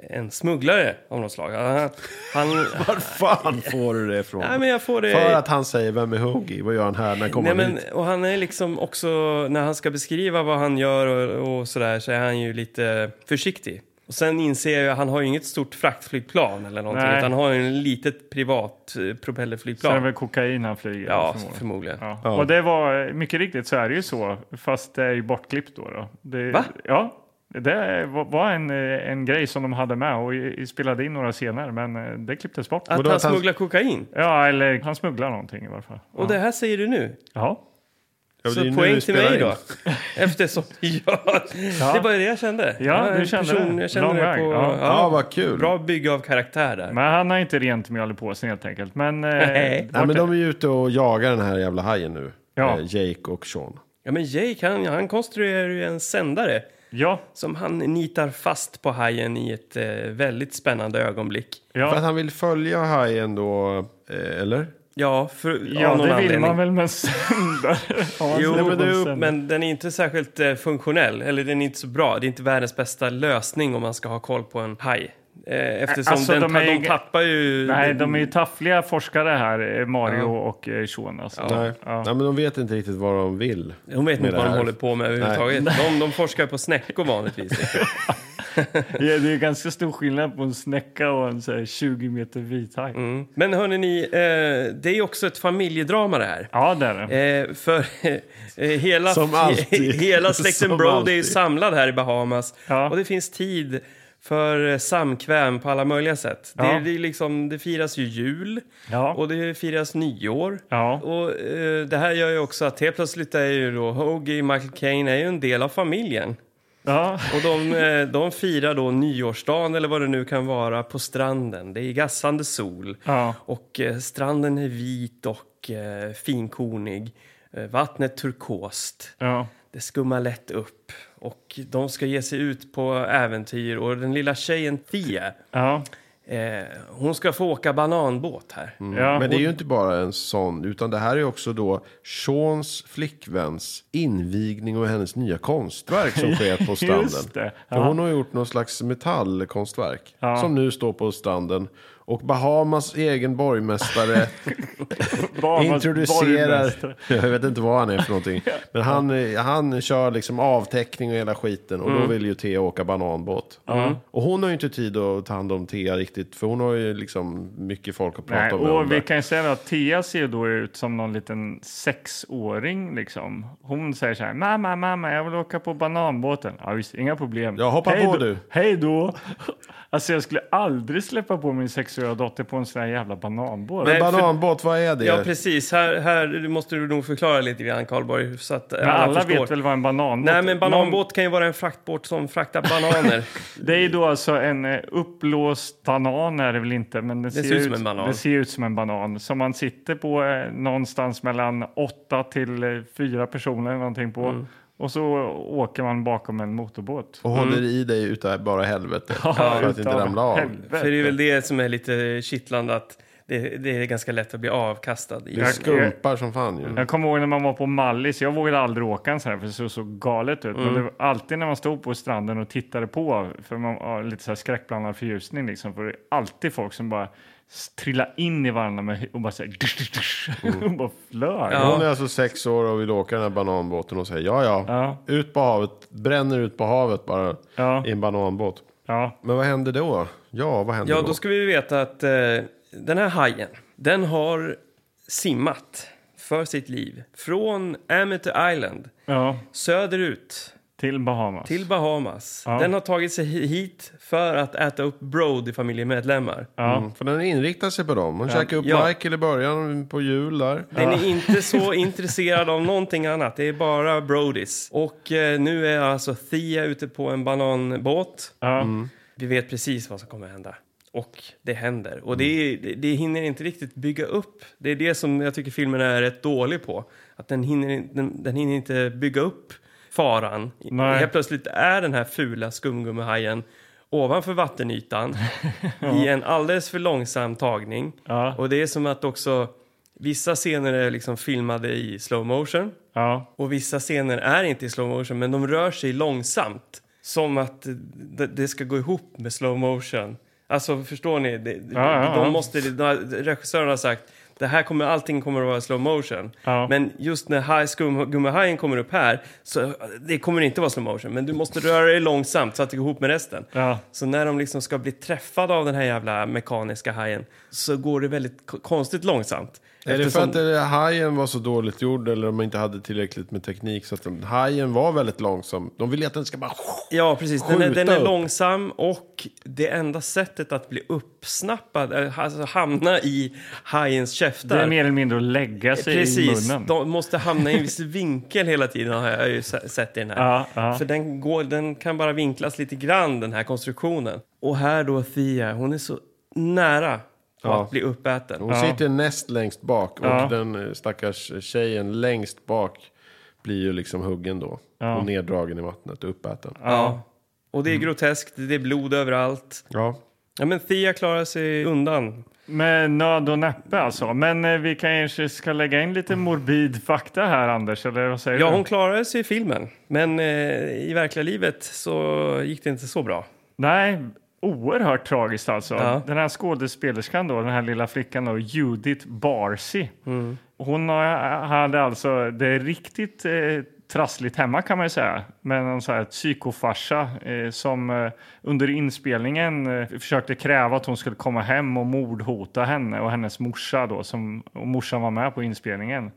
S1: eh, en smugglare av något slag. Han,
S2: *laughs*
S1: han,
S3: Var fan *laughs* får du det ifrån?
S1: nej, men jag får det...
S3: För att han säger, vem är Hoagie? Vad gör han här? När kommer
S1: Nej,
S3: han
S1: men,
S3: hit?
S1: och han är liksom också, när han ska beskriva vad han gör och, och sådär så är han ju lite försiktig. Och sen inser jag, han har ju inget stort fraktflygplan eller någonting,
S2: Nej.
S1: utan han har ju en litet privat eh,
S2: Så är det
S1: propellerflygplan.
S2: väl kokain han flyger?
S1: ja,
S2: förmodligen.
S1: förmodligen.
S2: Ja.
S3: Ja.
S2: Och det var, mycket riktigt så är det ju så, fast det är ju bortklippt då. då. Det,
S1: Va?
S2: Ja, det var- var en, eh, en grej som de hade med och i- spelade in några scener, men eh, det klipptes bort.
S1: Att
S3: Vadå,
S1: han
S3: att han-
S1: smugglar kokain.
S2: Ja, eller han smugglar någonting i varje fall.
S1: Och det här säger du nu.
S2: Ja.
S3: Ja, det är ju
S1: Så
S3: nu
S1: poäng
S3: vi
S1: till
S3: spelar
S1: mig
S3: in. *laughs*
S1: då. Eftersom *laughs* jag...
S2: Ja.
S1: Det var det jag kände.
S2: Ja,
S1: Jag är
S2: du
S1: en
S2: kände det.
S1: Jag
S2: Lång
S1: kände det
S2: väg,
S1: på...
S2: ja.
S3: Ja, vad kul.
S1: Bra bygge av karaktär där.
S2: Men han har inte rent mjöl i påsen helt enkelt. Men, eh,
S1: Nej.
S3: Nej,
S2: vart-
S3: men de är ju ute och jagar den här jävla hajen nu.
S2: Ja.
S3: Eh, Jake och Sean.
S1: Ja, men Jake, han, han konstruerar ju en sändare.
S2: ja,
S1: som han nitar fast på hajen i ett eh, väldigt spännande ögonblick.
S3: För att
S2: ja,
S3: han vill följa hajen då, eh, eller?
S1: Ja, för,
S2: ja
S1: av någon
S2: det vill
S1: anledning.
S2: man väl
S1: *laughs*
S2: med sönder.
S1: Jo, men, du, men den är inte särskilt eh, funktionell, eller den är inte så bra. Det är inte världens bästa lösning om man ska ha koll på en haj. Eh, eftersom
S2: Alltså,
S1: den,
S2: de
S1: de,
S2: är ju-
S1: de tappar ju...
S2: Nej, de är ju taffliga forskare här, eh, Mario och eh, Sean. Alltså.
S3: Nej.
S2: Ja.
S3: Nej, men de vet inte riktigt vad de vill.
S1: De vet
S3: med
S1: inte
S3: det
S1: vad de
S3: här.
S1: håller på med överhuvudtaget. De, de forskar på snäckor vanligtvis.
S2: *laughs* Ja, det är ganska stor skillnad på en snäcka och en så här, 20 meter vit haj.
S1: Mm. Men hörni, ni, eh, det är ju också ett familjedrama det här.
S2: Ja, det är det.
S1: Eh, för eh, hela,
S3: Som
S1: *laughs*
S3: alltid.
S1: hela släkten
S3: Som
S1: Brody är
S3: alltid.
S1: samlad här i Bahamas.
S2: Ja.
S1: Och det finns tid för eh, samkväm på alla möjliga sätt.
S2: Ja.
S1: Det, det, är liksom, det firas ju jul
S2: Ja.
S1: och det firas nyår.
S2: Ja.
S1: Och eh, det här gör ju också att helt plötsligt är ju då Hoagie, Michael Caine är ju en del av familjen.
S2: Ja.
S1: Och de, eh, de firar då nyårsdagen eller vad det nu kan vara på stranden. Det är gassande sol.
S2: Ja.
S1: Och eh, stranden är vit och eh, finkornig. Eh, vattnet turkost.
S2: Ja.
S1: Det skummar lätt upp. Och de ska ge sig ut på äventyr. Och den lilla tjejen Thea,
S2: Ja.
S1: eh, hon ska få åka bananbåt här.
S2: Ja.
S3: Mm. Men det är ju inte bara en sån, utan det här är också då Seans flickväns invigning och hennes nya konstverk
S2: *laughs*
S3: som sker på stranden.
S2: Just det,
S3: För
S2: ja.
S3: Hon har gjort någon slags metallkonstverk som nu står på stranden. Och Bahamas egen borgmästare
S2: *laughs* Bahamas
S3: introducerar,
S2: borgmästare.
S3: jag vet inte vad han är
S2: *laughs*
S3: för någonting, men han, eh, han kör liksom avtäckning och hela skiten och
S2: Mm.
S3: då vill ju Thea åka bananbåt. Mm. Och hon har ju inte tid att ta hand om Thea riktigt, för hon har ju liksom mycket folk att prata
S2: Nej,
S3: med. om
S2: och
S3: där.
S2: vi kan ju säga då att Tia ser då ut som någon liten sexåring liksom. Hon säger så här, mamma, mamma, jag vill åka på bananbåten. Ja visst, inga problem.
S3: Ja, hoppa
S2: Hej
S3: på
S2: då-
S3: du.
S2: Hej då! *laughs* Alltså jag skulle aldrig släppa på min sexåriga dotter på en sån här jävla bananbåt.
S1: Nej, för-
S3: Bananbåt, vad är det?
S1: Ja, precis. Här, här måste du nog förklara lite grann, Karlborg. Så att
S2: Men alla
S1: förstår.
S2: vet väl vad en bananbåt
S1: Nej, men
S2: Någon-
S1: bananbåt kan ju vara en fraktbåt som fraktar
S2: *laughs*
S1: bananer.
S2: Det är då alltså en eh, uppblåst banan är det väl inte, men det,
S1: ser ut som en banan.
S2: det ser ut som en banan som man sitter på eh, någonstans mellan åtta till eh, fyra personer eller någonting på.
S1: Mm.
S2: Och så åker man bakom en motorbåt.
S3: Och
S1: Mm.
S3: håller i dig utav bara helvete. för att inte
S2: utav
S3: ramla av.
S2: helvete.
S1: För det är väl det som är lite kittlande att det, det är ganska lätt att bli avkastad. I.
S3: Det skumpar som fan ju.
S1: Mm.
S2: Jag kommer ihåg när man var på Mallis. Jag vågade aldrig åka en sån här för det såg så galet ut.
S1: Mm.
S2: Men det var alltid när man stod på stranden och tittade på, för man har lite så här skräckblandad förljusning liksom. För det är alltid folk som bara s- trillar in i varandra med, och bara säger *laughs* och bara flög.
S1: Mm. Ja.
S3: Hon är alltså sex år och vill åka den här bananbåten och säger ja, ja,
S2: Ja.
S3: ut på havet, bränner ut på havet bara
S2: Ja.
S3: i en bananbåt.
S2: Ja.
S3: Men vad händer då? Ja, vad händer
S1: Ja,
S3: då?
S1: då ska vi veta att eh, den här hajen, den har simmat för sitt liv från Amity Island
S2: ja,
S1: söderut
S2: Till Bahamas.
S1: till Bahamas.
S2: Ja.
S1: Den har tagit sig hi- hit för att äta upp Brody-familjemedlemmar.
S2: Ja.
S3: Mm, för den inriktar sig på dem. Hon käkar upp
S1: Ja.
S3: Michael i början på jul där.
S1: Den är inte så intresserad av någonting annat. Det är bara Brodys. Och eh, nu är alltså Thea ute på en bananbåt.
S2: Ja.
S1: Vi vet precis vad som kommer att hända. Och det händer. Och det,
S2: Mm.
S1: är, det, det hinner inte riktigt bygga upp. Det är det som jag tycker filmen är rätt dålig på. Att den hinner, in- den, den hinner inte bygga upp faran.
S2: Nej.
S1: Helt plötsligt är den här fula skumgummihajen ovanför
S2: *laughs*
S1: vattenytan i en alldeles för långsam tagning.
S2: Ja.
S1: Och det är som att också vissa scener är liksom filmade i slow motion.
S2: Ja.
S1: Och vissa scener är inte i slow motion, men de rör sig långsamt. Som att det, det ska gå ihop med slow motion. Alltså, förstår ni? Det,
S2: Ja, ja, ja.
S1: de måste, de, har- regissören har sagt det här kommer, allting kommer att vara slow motion.
S2: Ja.
S1: Men just när haj- skumgummihajen kommer upp här, så det kommer inte vara slow motion. Men du måste röra dig långsamt så att det går ihop med resten.
S2: Ja.
S1: Så när de liksom ska bli träffade av den här jävla mekaniska hajen så går det väldigt ko- konstigt långsamt.
S3: Är det för
S1: Eftersom-
S3: att det- hajen var så dåligt gjord eller de inte hade tillräckligt med teknik? Så att de, hajen var väldigt långsam. De ville att den ska bara...
S1: Ja, precis. Den är,
S3: Skjuta
S1: den är
S3: upp.
S1: långsam och det enda sättet att bli uppsnappad, eh, alltså hamna i hajens käftar.
S2: Det är mer eller mindre att lägga sig i
S1: Precis,
S2: munnen.
S1: de måste hamna i en viss vinkel hela tiden har jag ju se- sett i den här.
S2: Ja, ja.
S1: För den, går, den kan bara vinklas lite grann, den här konstruktionen. Och här då Thea, hon är så nära på
S3: Ja. Oh.
S1: att bli uppäten.
S3: Hon sitter näst längst bak och
S2: Ja.
S3: den eh, stackars tjejen längst bak blir ju liksom huggen då. Och neddragen i vattnet och uppäten. Ja.
S1: Ja. Och det är groteskt, det är blod överallt. Ja, men Thea klarar sig undan.
S2: Med nöd och näppe alltså. Men eh, vi kanske ska lägga in lite morbid fakta här Anders, eller vad säger
S1: Ja,
S2: du?
S1: hon klarade sig i filmen, men eh, i verkliga livet så gick det inte så bra.
S2: Nej, oerhört tragiskt alltså.
S1: Ja.
S2: Den här skådespelerskan då, den här lilla flickan då, Judith Barsi. Hon har- hade alltså det är riktigt eh, trassligt hemma kan man ju säga. Med någon så här psykofarsa eh, som eh, under inspelningen eh, försökte kräva att hon skulle komma hem och mordhota henne och hennes morsa då, som, och morsan var med på inspelningen.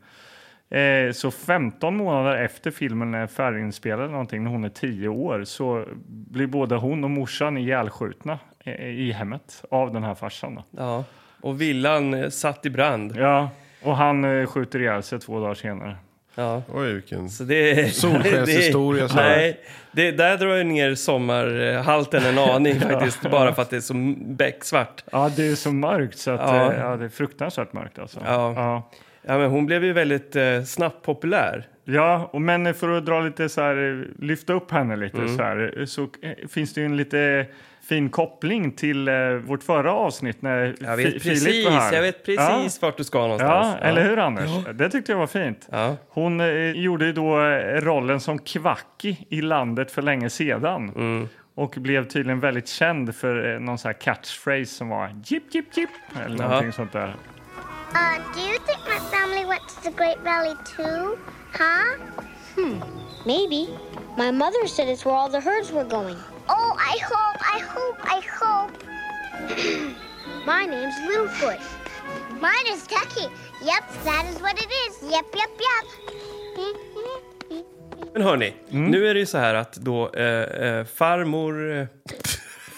S2: Eh, så 15 månader efter filmen är färdiginspelad eller någonting, när hon är 10 år, så blir både hon och morsan ihjälskjutna eh, i hemmet av den här farsan. Då.
S1: Ja. Och villan eh, satt i brand.
S2: Ja, och han eh, skjuter ihjäl sig två dagar senare.
S1: Ja.
S3: Oj, vilken...
S1: Så det,
S3: Solskenshistoria,
S1: det-
S3: så här.
S1: Nej, det, där drar jag ner sommarhalten en
S2: *laughs*
S1: aning faktiskt, bara för att det är så becksvart.
S2: Ja, det är så mörkt så att,
S1: Ja.
S2: eh, ja, det är fruktansvärt mörkt alltså.
S1: Ja.
S2: ja.
S1: Ja, men hon blev ju väldigt eh, snabbt populär.
S2: Ja, och men för att dra lite så här, eh, lyfta upp henne lite så här, så eh, finns det ju en lite fin koppling till eh, vårt förra avsnitt när
S1: Jag vet
S2: Fi-
S1: precis,
S2: Filip var här.
S1: jag vet precis vart du ska någonstans.
S2: Ja, ja, eller hur Anders? Det tyckte jag var fint.
S1: Ja.
S2: Hon eh, gjorde ju då eh, rollen som Kvacki i landet för länge sedan. Och blev tydligen väldigt känd för eh, någon sån här catchphrase som var jip jip jip eller någonting sånt där.
S5: Uh, do you think my family went to the Great Valley too? Huh?
S6: Hmm, Maybe. My mother said it's where all the herds were going.
S5: Oh, I hope, I hope, I hope.
S6: *clears throat* My name's Littlefoot.
S5: Mine is Ducky. Yep, that is what it is. Yep, yep, yep. *laughs*
S1: Men hörni,
S2: Mm.
S1: nu är det ju så här att då eh, eh, farmor... Eh,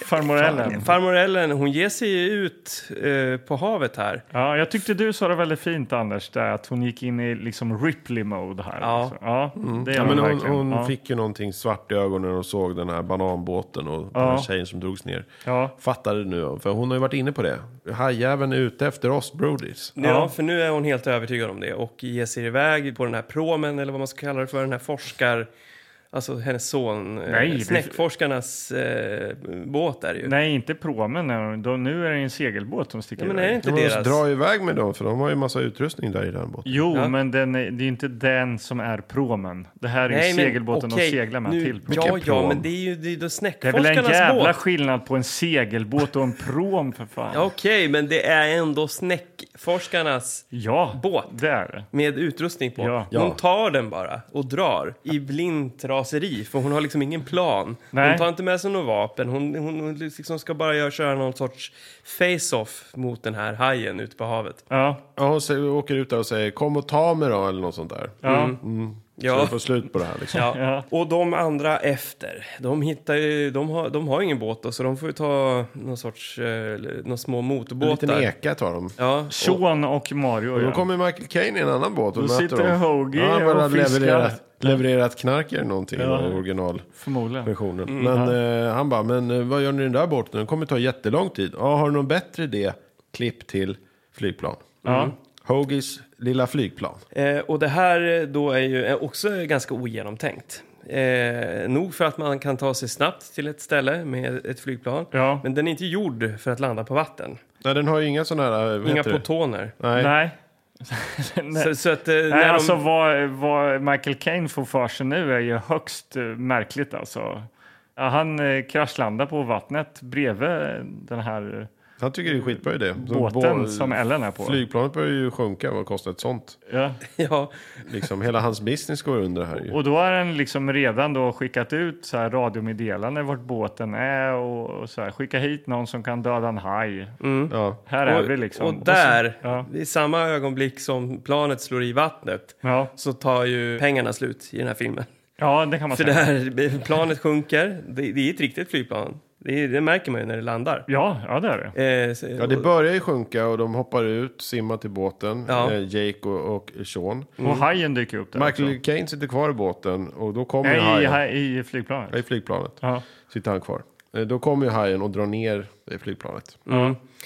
S2: Farmor Ellen.
S1: Farmor Ellen, hon ger sig ju ut eh, på havet här.
S2: Ja, jag tyckte du sa det väldigt fint Anders, där, att hon gick in i liksom Ripley-mode här.
S1: Ja.
S2: alltså. ja det gör
S3: Ja, men hon
S2: verkligen.
S3: hon
S2: ja.
S3: fick ju någonting svart i ögonen och såg den här bananbåten och den här tjejen som drogs ner.
S2: Ja.
S3: Fattade nu, för hon har ju varit inne på det. Hajjäveln är ute efter oss, Brodies.
S1: Ja, för nu är hon helt övertygad om det och ger sig iväg på den här promen eller vad man ska kalla det för, den här forskar... Alltså hennes son, eh,
S2: Nej, det-
S1: snäckforskarnas eh, båt är det ju.
S2: Nej, inte promen. nej. Då, nu är det en segelbåt som sticker
S1: Ja, men är det inte
S3: De måste
S1: deras?
S3: dra iväg med dem, för de har ju massa utrustning där i den båten.
S2: Jo,
S1: Ja.
S2: men den är, det är inte den som är promen. Det här är ju segelbåten
S1: okej,
S2: de seglar med
S1: nu-
S2: till. prom.
S1: Ja,
S3: Vilken
S1: ja,
S3: prom?
S1: men det är ju det är då
S2: Det är väl en
S1: snäckforskarnas
S2: jävla
S1: båt.
S2: skillnad på en segelbåt och en prom för fan.
S1: Ja, Okej, men det är ändå snäckforskarnas
S2: ja
S1: båt.
S2: där.
S1: med utrustning på.
S2: Ja.
S1: Hon tar den bara och drar i blind raseri, för hon har liksom ingen plan. Hon
S2: Nej.
S1: tar inte med sig några vapen. Hon, hon, hon liksom ska bara göra, köra någon sorts face-off mot den här hajen ute på havet.
S2: Ja,
S3: Ja, hon säger- åker ut där och säger kom och ta mig då eller något sånt där.
S2: ja.
S3: Så
S1: Ja.
S3: vi får slut på det här liksom.
S1: Ja.
S2: *laughs* Ja.
S1: Och de andra efter, de hittar ju, de har, de har ingen båt då, så de får ju ta någon sorts, eh, några små
S3: En liten
S1: motorbåtar.
S3: eka tar de.
S1: Ja, och-
S2: Sean och Mario.
S3: Och då
S2: Ja.
S3: kommer Michael Caine i en annan båt och
S2: Då
S3: möter
S2: sitter
S3: dem.
S2: Hoagie
S3: Ja, han bara
S2: och fiskar.
S3: levererat, levererat knark eller någonting
S2: Ja. Mm,
S3: i originalversionen.
S2: Förmodligen.
S3: Men eh, han bara, men eh, vad gör ni i den där båten? Den kommer ta jättelång tid. Ja, har du någon bättre idé? Klipp till flygplan. Mm.
S2: Ja.
S3: Hoagies lilla flygplan.
S1: Eh, och det här eh, då är ju eh, också ganska ogenomtänkt. Eh, nog för att man kan ta sig snabbt till ett ställe med ett flygplan.
S2: Ja.
S1: Men den är inte gjord för att landa på vatten.
S3: Nej, den har ju inga sådana här... eh, vad
S1: Inga
S3: heter det?
S1: protoner.
S3: Nej.
S2: Nej. Nej.
S1: Så, så att eh, när
S2: Nej,
S1: de...
S2: alltså vad, vad Michael Caine får för sig nu är ju högst eh, märkligt alltså. Ja, han eh, kraschlandar på vattnet bredvid den här eh,
S3: Han tycker det är skitbra idé. Så
S2: båten
S3: bå-
S2: som Ellen är på.
S3: Flygplanet börjar ju sjunka. Vad kostar ett sånt?
S2: Ja.
S1: *laughs* Ja,
S3: Liksom, hela hans business går under här ju.
S2: Och då har han liksom redan då skickat ut så här radiomeddelanden vart båten är och, och så här, skicka hit någon som kan döda en haj.
S3: Ja.
S2: Här är vi liksom.
S1: Mm. och där,
S2: Och så, ja.
S1: i samma ögonblick som planet slår i vattnet,
S2: Ja.
S1: så tar ju pengarna slut i den här filmen.
S2: ja, det kan man
S1: För
S2: säga.
S1: det här *laughs* planet sjunker, det, det är ett riktigt flygplan. Det, är- det märker man ju när det landar.
S2: Ja, ja, det är det.
S1: Eh, så-
S3: Ja, det börjar ju sjunka och de hoppar ut, simmar till båten,
S1: Ja.
S3: eh, Jake och, och Sean.
S1: Mm.
S2: Och hajen dyker upp där
S3: Michael
S2: också.
S3: Caine sitter kvar i båten och då kommer ju
S2: Nej, i,
S3: hajen.
S2: ha- i flygplanet.
S3: Ja, I flygplanet
S2: Ja.
S3: sitter han kvar. Eh, Då kommer ju hajen och drar ner i flygplanet.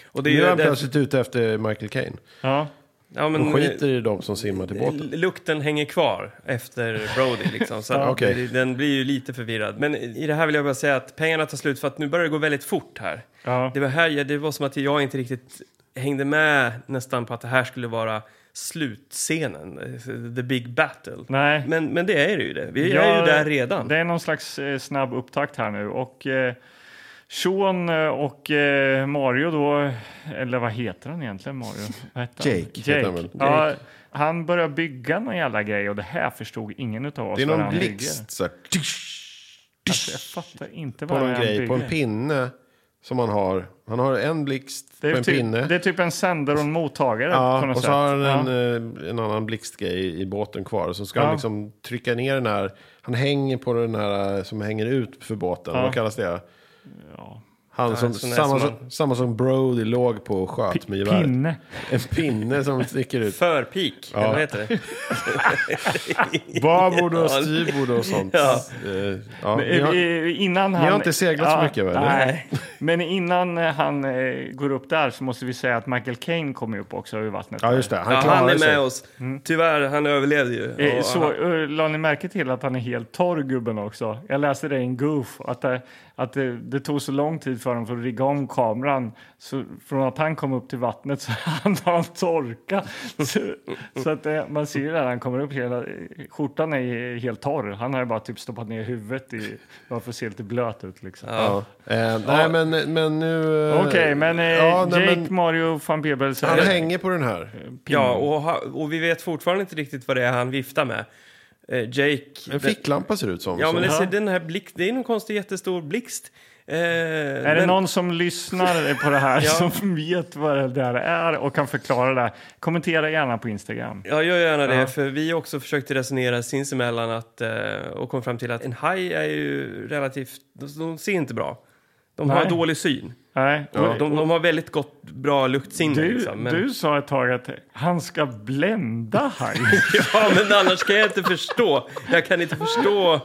S1: och det är
S3: Nu är
S1: ju
S3: han
S1: det,
S3: plötsligt ute efter Michael Caine.
S2: Ja.
S1: ja,
S3: Och
S1: men,
S3: skiter i de som simmar till båten.
S1: L- Lukten hänger kvar efter Brody. Liksom,
S2: *laughs*
S1: så att
S3: okej.
S1: det- Den blir ju lite förvirrad. Men i det här vill jag bara säga att pengarna tar slut för att nu börjar det gå väldigt fort här.
S2: Ja.
S1: Det, var här jag- det var som att jag inte riktigt hängde med nästan på att det här skulle vara slutscenen, the big battle.
S2: Nej.
S1: Men, men det är det ju det. Vi
S2: Ja,
S1: är ju där redan.
S2: Det är någon slags eh, snabb upptakt här nu. Och eh, Sean eh, och eh, Mario då, eller vad heter han egentligen Mario? Vad heter han?
S3: Jake heter
S2: Jake.
S3: han väl?
S2: Ja, han börjar bygga någon jävla grej och det här förstod ingen av oss.
S3: Det är
S2: vad
S3: någon
S2: han bygger.
S3: blixt så här, tysch,
S2: Alltså, jag fattar inte
S3: på
S2: vad
S3: någon
S2: han
S3: grej,
S2: bygger.
S3: på en pinne som han har. Han har en blixt
S2: det,
S3: på
S2: är
S3: en
S2: typ,
S3: pinne.
S2: det är typ en sändare och en mottagare på
S3: Ja,
S2: något
S3: och så
S2: sätt.
S3: har han en,
S2: ja.
S3: eh, en annan blixtgrej i båten kvar. Och så ska
S2: Ja.
S3: han liksom trycka ner den här. Han hänger på den här eh, som hänger ut för båten. Vad kallas det?
S2: Ja.
S3: Han som,
S1: sån där som
S3: samma, som, samma som Brody låg på och sköt med geväret.
S2: Pinne.
S3: *laughs* En pinne som
S2: *laughs*
S3: sticker ut.
S1: Förpik, eller vad heter det?
S3: Babord och styrbord och sånt.
S1: Ja.
S3: Eh, ja,
S2: Men,
S3: ni har-
S2: eh, innan han,
S3: har inte seglat så mycket, va, eller?
S2: Nej.
S3: *laughs*
S2: Men innan eh, han eh, går upp där så måste vi säga att Michael Caine kommer upp också ur vattnet.
S3: ja, just det. Han
S1: Ja,
S3: klarar
S1: han är
S3: sig.
S1: med oss.
S2: Mm.
S1: Tyvärr, han överlevde ju.
S2: Eh,
S1: Och
S2: Så
S1: han-
S2: eh, la ni märke till att han är helt torr gubben också? Jag läste det i en goof att, det, att det, det tog så lång tid för honom för att rigga om kameran. Så från att han kom upp till vattnet så *laughs* hann han torka. Så, så att eh, man ser ju när han kommer upp hela eh, skjortan är helt torr. Han har ju bara typ stoppat ner huvudet i bara för att se lite blöt ut liksom.
S3: Ja. Eh, nej, men, men nu... eh,
S2: Okej, men eh,
S3: ja, nej,
S2: Jake,
S3: men
S2: Mario, van Beebels.
S3: han
S2: eh,
S3: hänger på den här.
S1: Ja,
S2: Mm.
S1: och, ha- och vi vet fortfarande inte riktigt vad det är han viftar med. Eh, Jake...
S3: En ficklampa ser det ut som.
S1: Ja, men det,
S3: som
S1: ser, den här blixt, det är någon konstig jättestor blixt. Eh,
S2: Är det någon som lyssnar på det här
S1: *laughs* Ja.
S2: som vet vad det där är och kan förklara det? Kommentera gärna på Instagram.
S1: Ja, gör gärna det,
S2: Ja.
S1: för vi också försökte resonera sinsemellan att, eh, och kom fram till att en haj är ju relativt... De, de ser inte bra. De har
S2: Nej.
S1: dålig syn.
S2: Nej.
S1: De, de har väldigt gott, bra luktsinne.
S2: Du,
S1: liksom, men,
S2: du sa ett tag att han ska blända haj.
S1: *laughs* Ja, men annars kan jag inte förstå. Jag kan inte förstå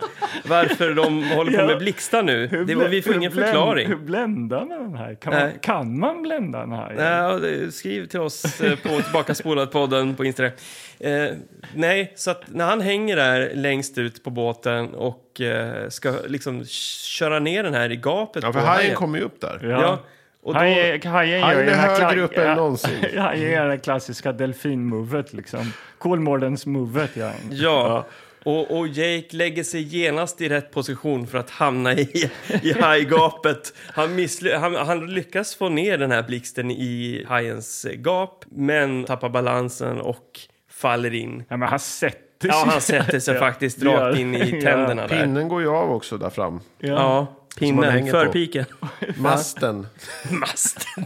S1: varför de håller på
S2: Ja.
S1: med blixtar nu. *laughs* Det, var- vi får
S2: Hur
S1: ingen
S2: blän-
S1: förklaring.
S2: *laughs* Hur bländar man en haj? Kan,
S1: Nej.
S2: man, kan man blända en haj?
S3: Mm.
S1: Ja, Eh, det- skriv till oss eh, på Tillbakaspolad-podden på Instagram. Eh, nej, så att när han hänger där längst ut på båten och eh, ska liksom köra ner den här i gapet
S3: Ja, för
S1: på
S3: hajen kommer ju upp där.
S1: Ja.
S2: Ja.
S1: och då,
S2: Haj- Hajen gör
S3: Hajen
S2: ju
S3: är
S2: den här
S3: högre
S2: kla-
S3: upp
S2: *laughs*
S3: än
S2: ja,
S3: någonsin.
S2: Hajen gör det klassiska delfinmovet liksom. Kolmårdens-movet gör han.
S1: ja. Och, och Jake lägger sig genast i rätt position för att hamna i, i hajgapet. Han, missly- han, han lyckas få ner den här blixten i hajens gap, men tappar balansen och faller in.
S2: Ja, men han sätter sätter
S1: Ja,
S2: sig.
S1: han sätter sig
S2: *laughs* Ja,
S1: faktiskt
S2: det gör
S1: rakt
S2: det.
S1: in
S2: *laughs* Ja.
S1: i tänderna där.
S3: Pinnen går ju av också där fram.
S2: Ja.
S1: Ja,
S3: man
S1: pinnen.
S3: hänger
S2: *laughs*
S3: på.
S1: Förpiken.
S3: Masten.
S2: alltså,
S1: Masten.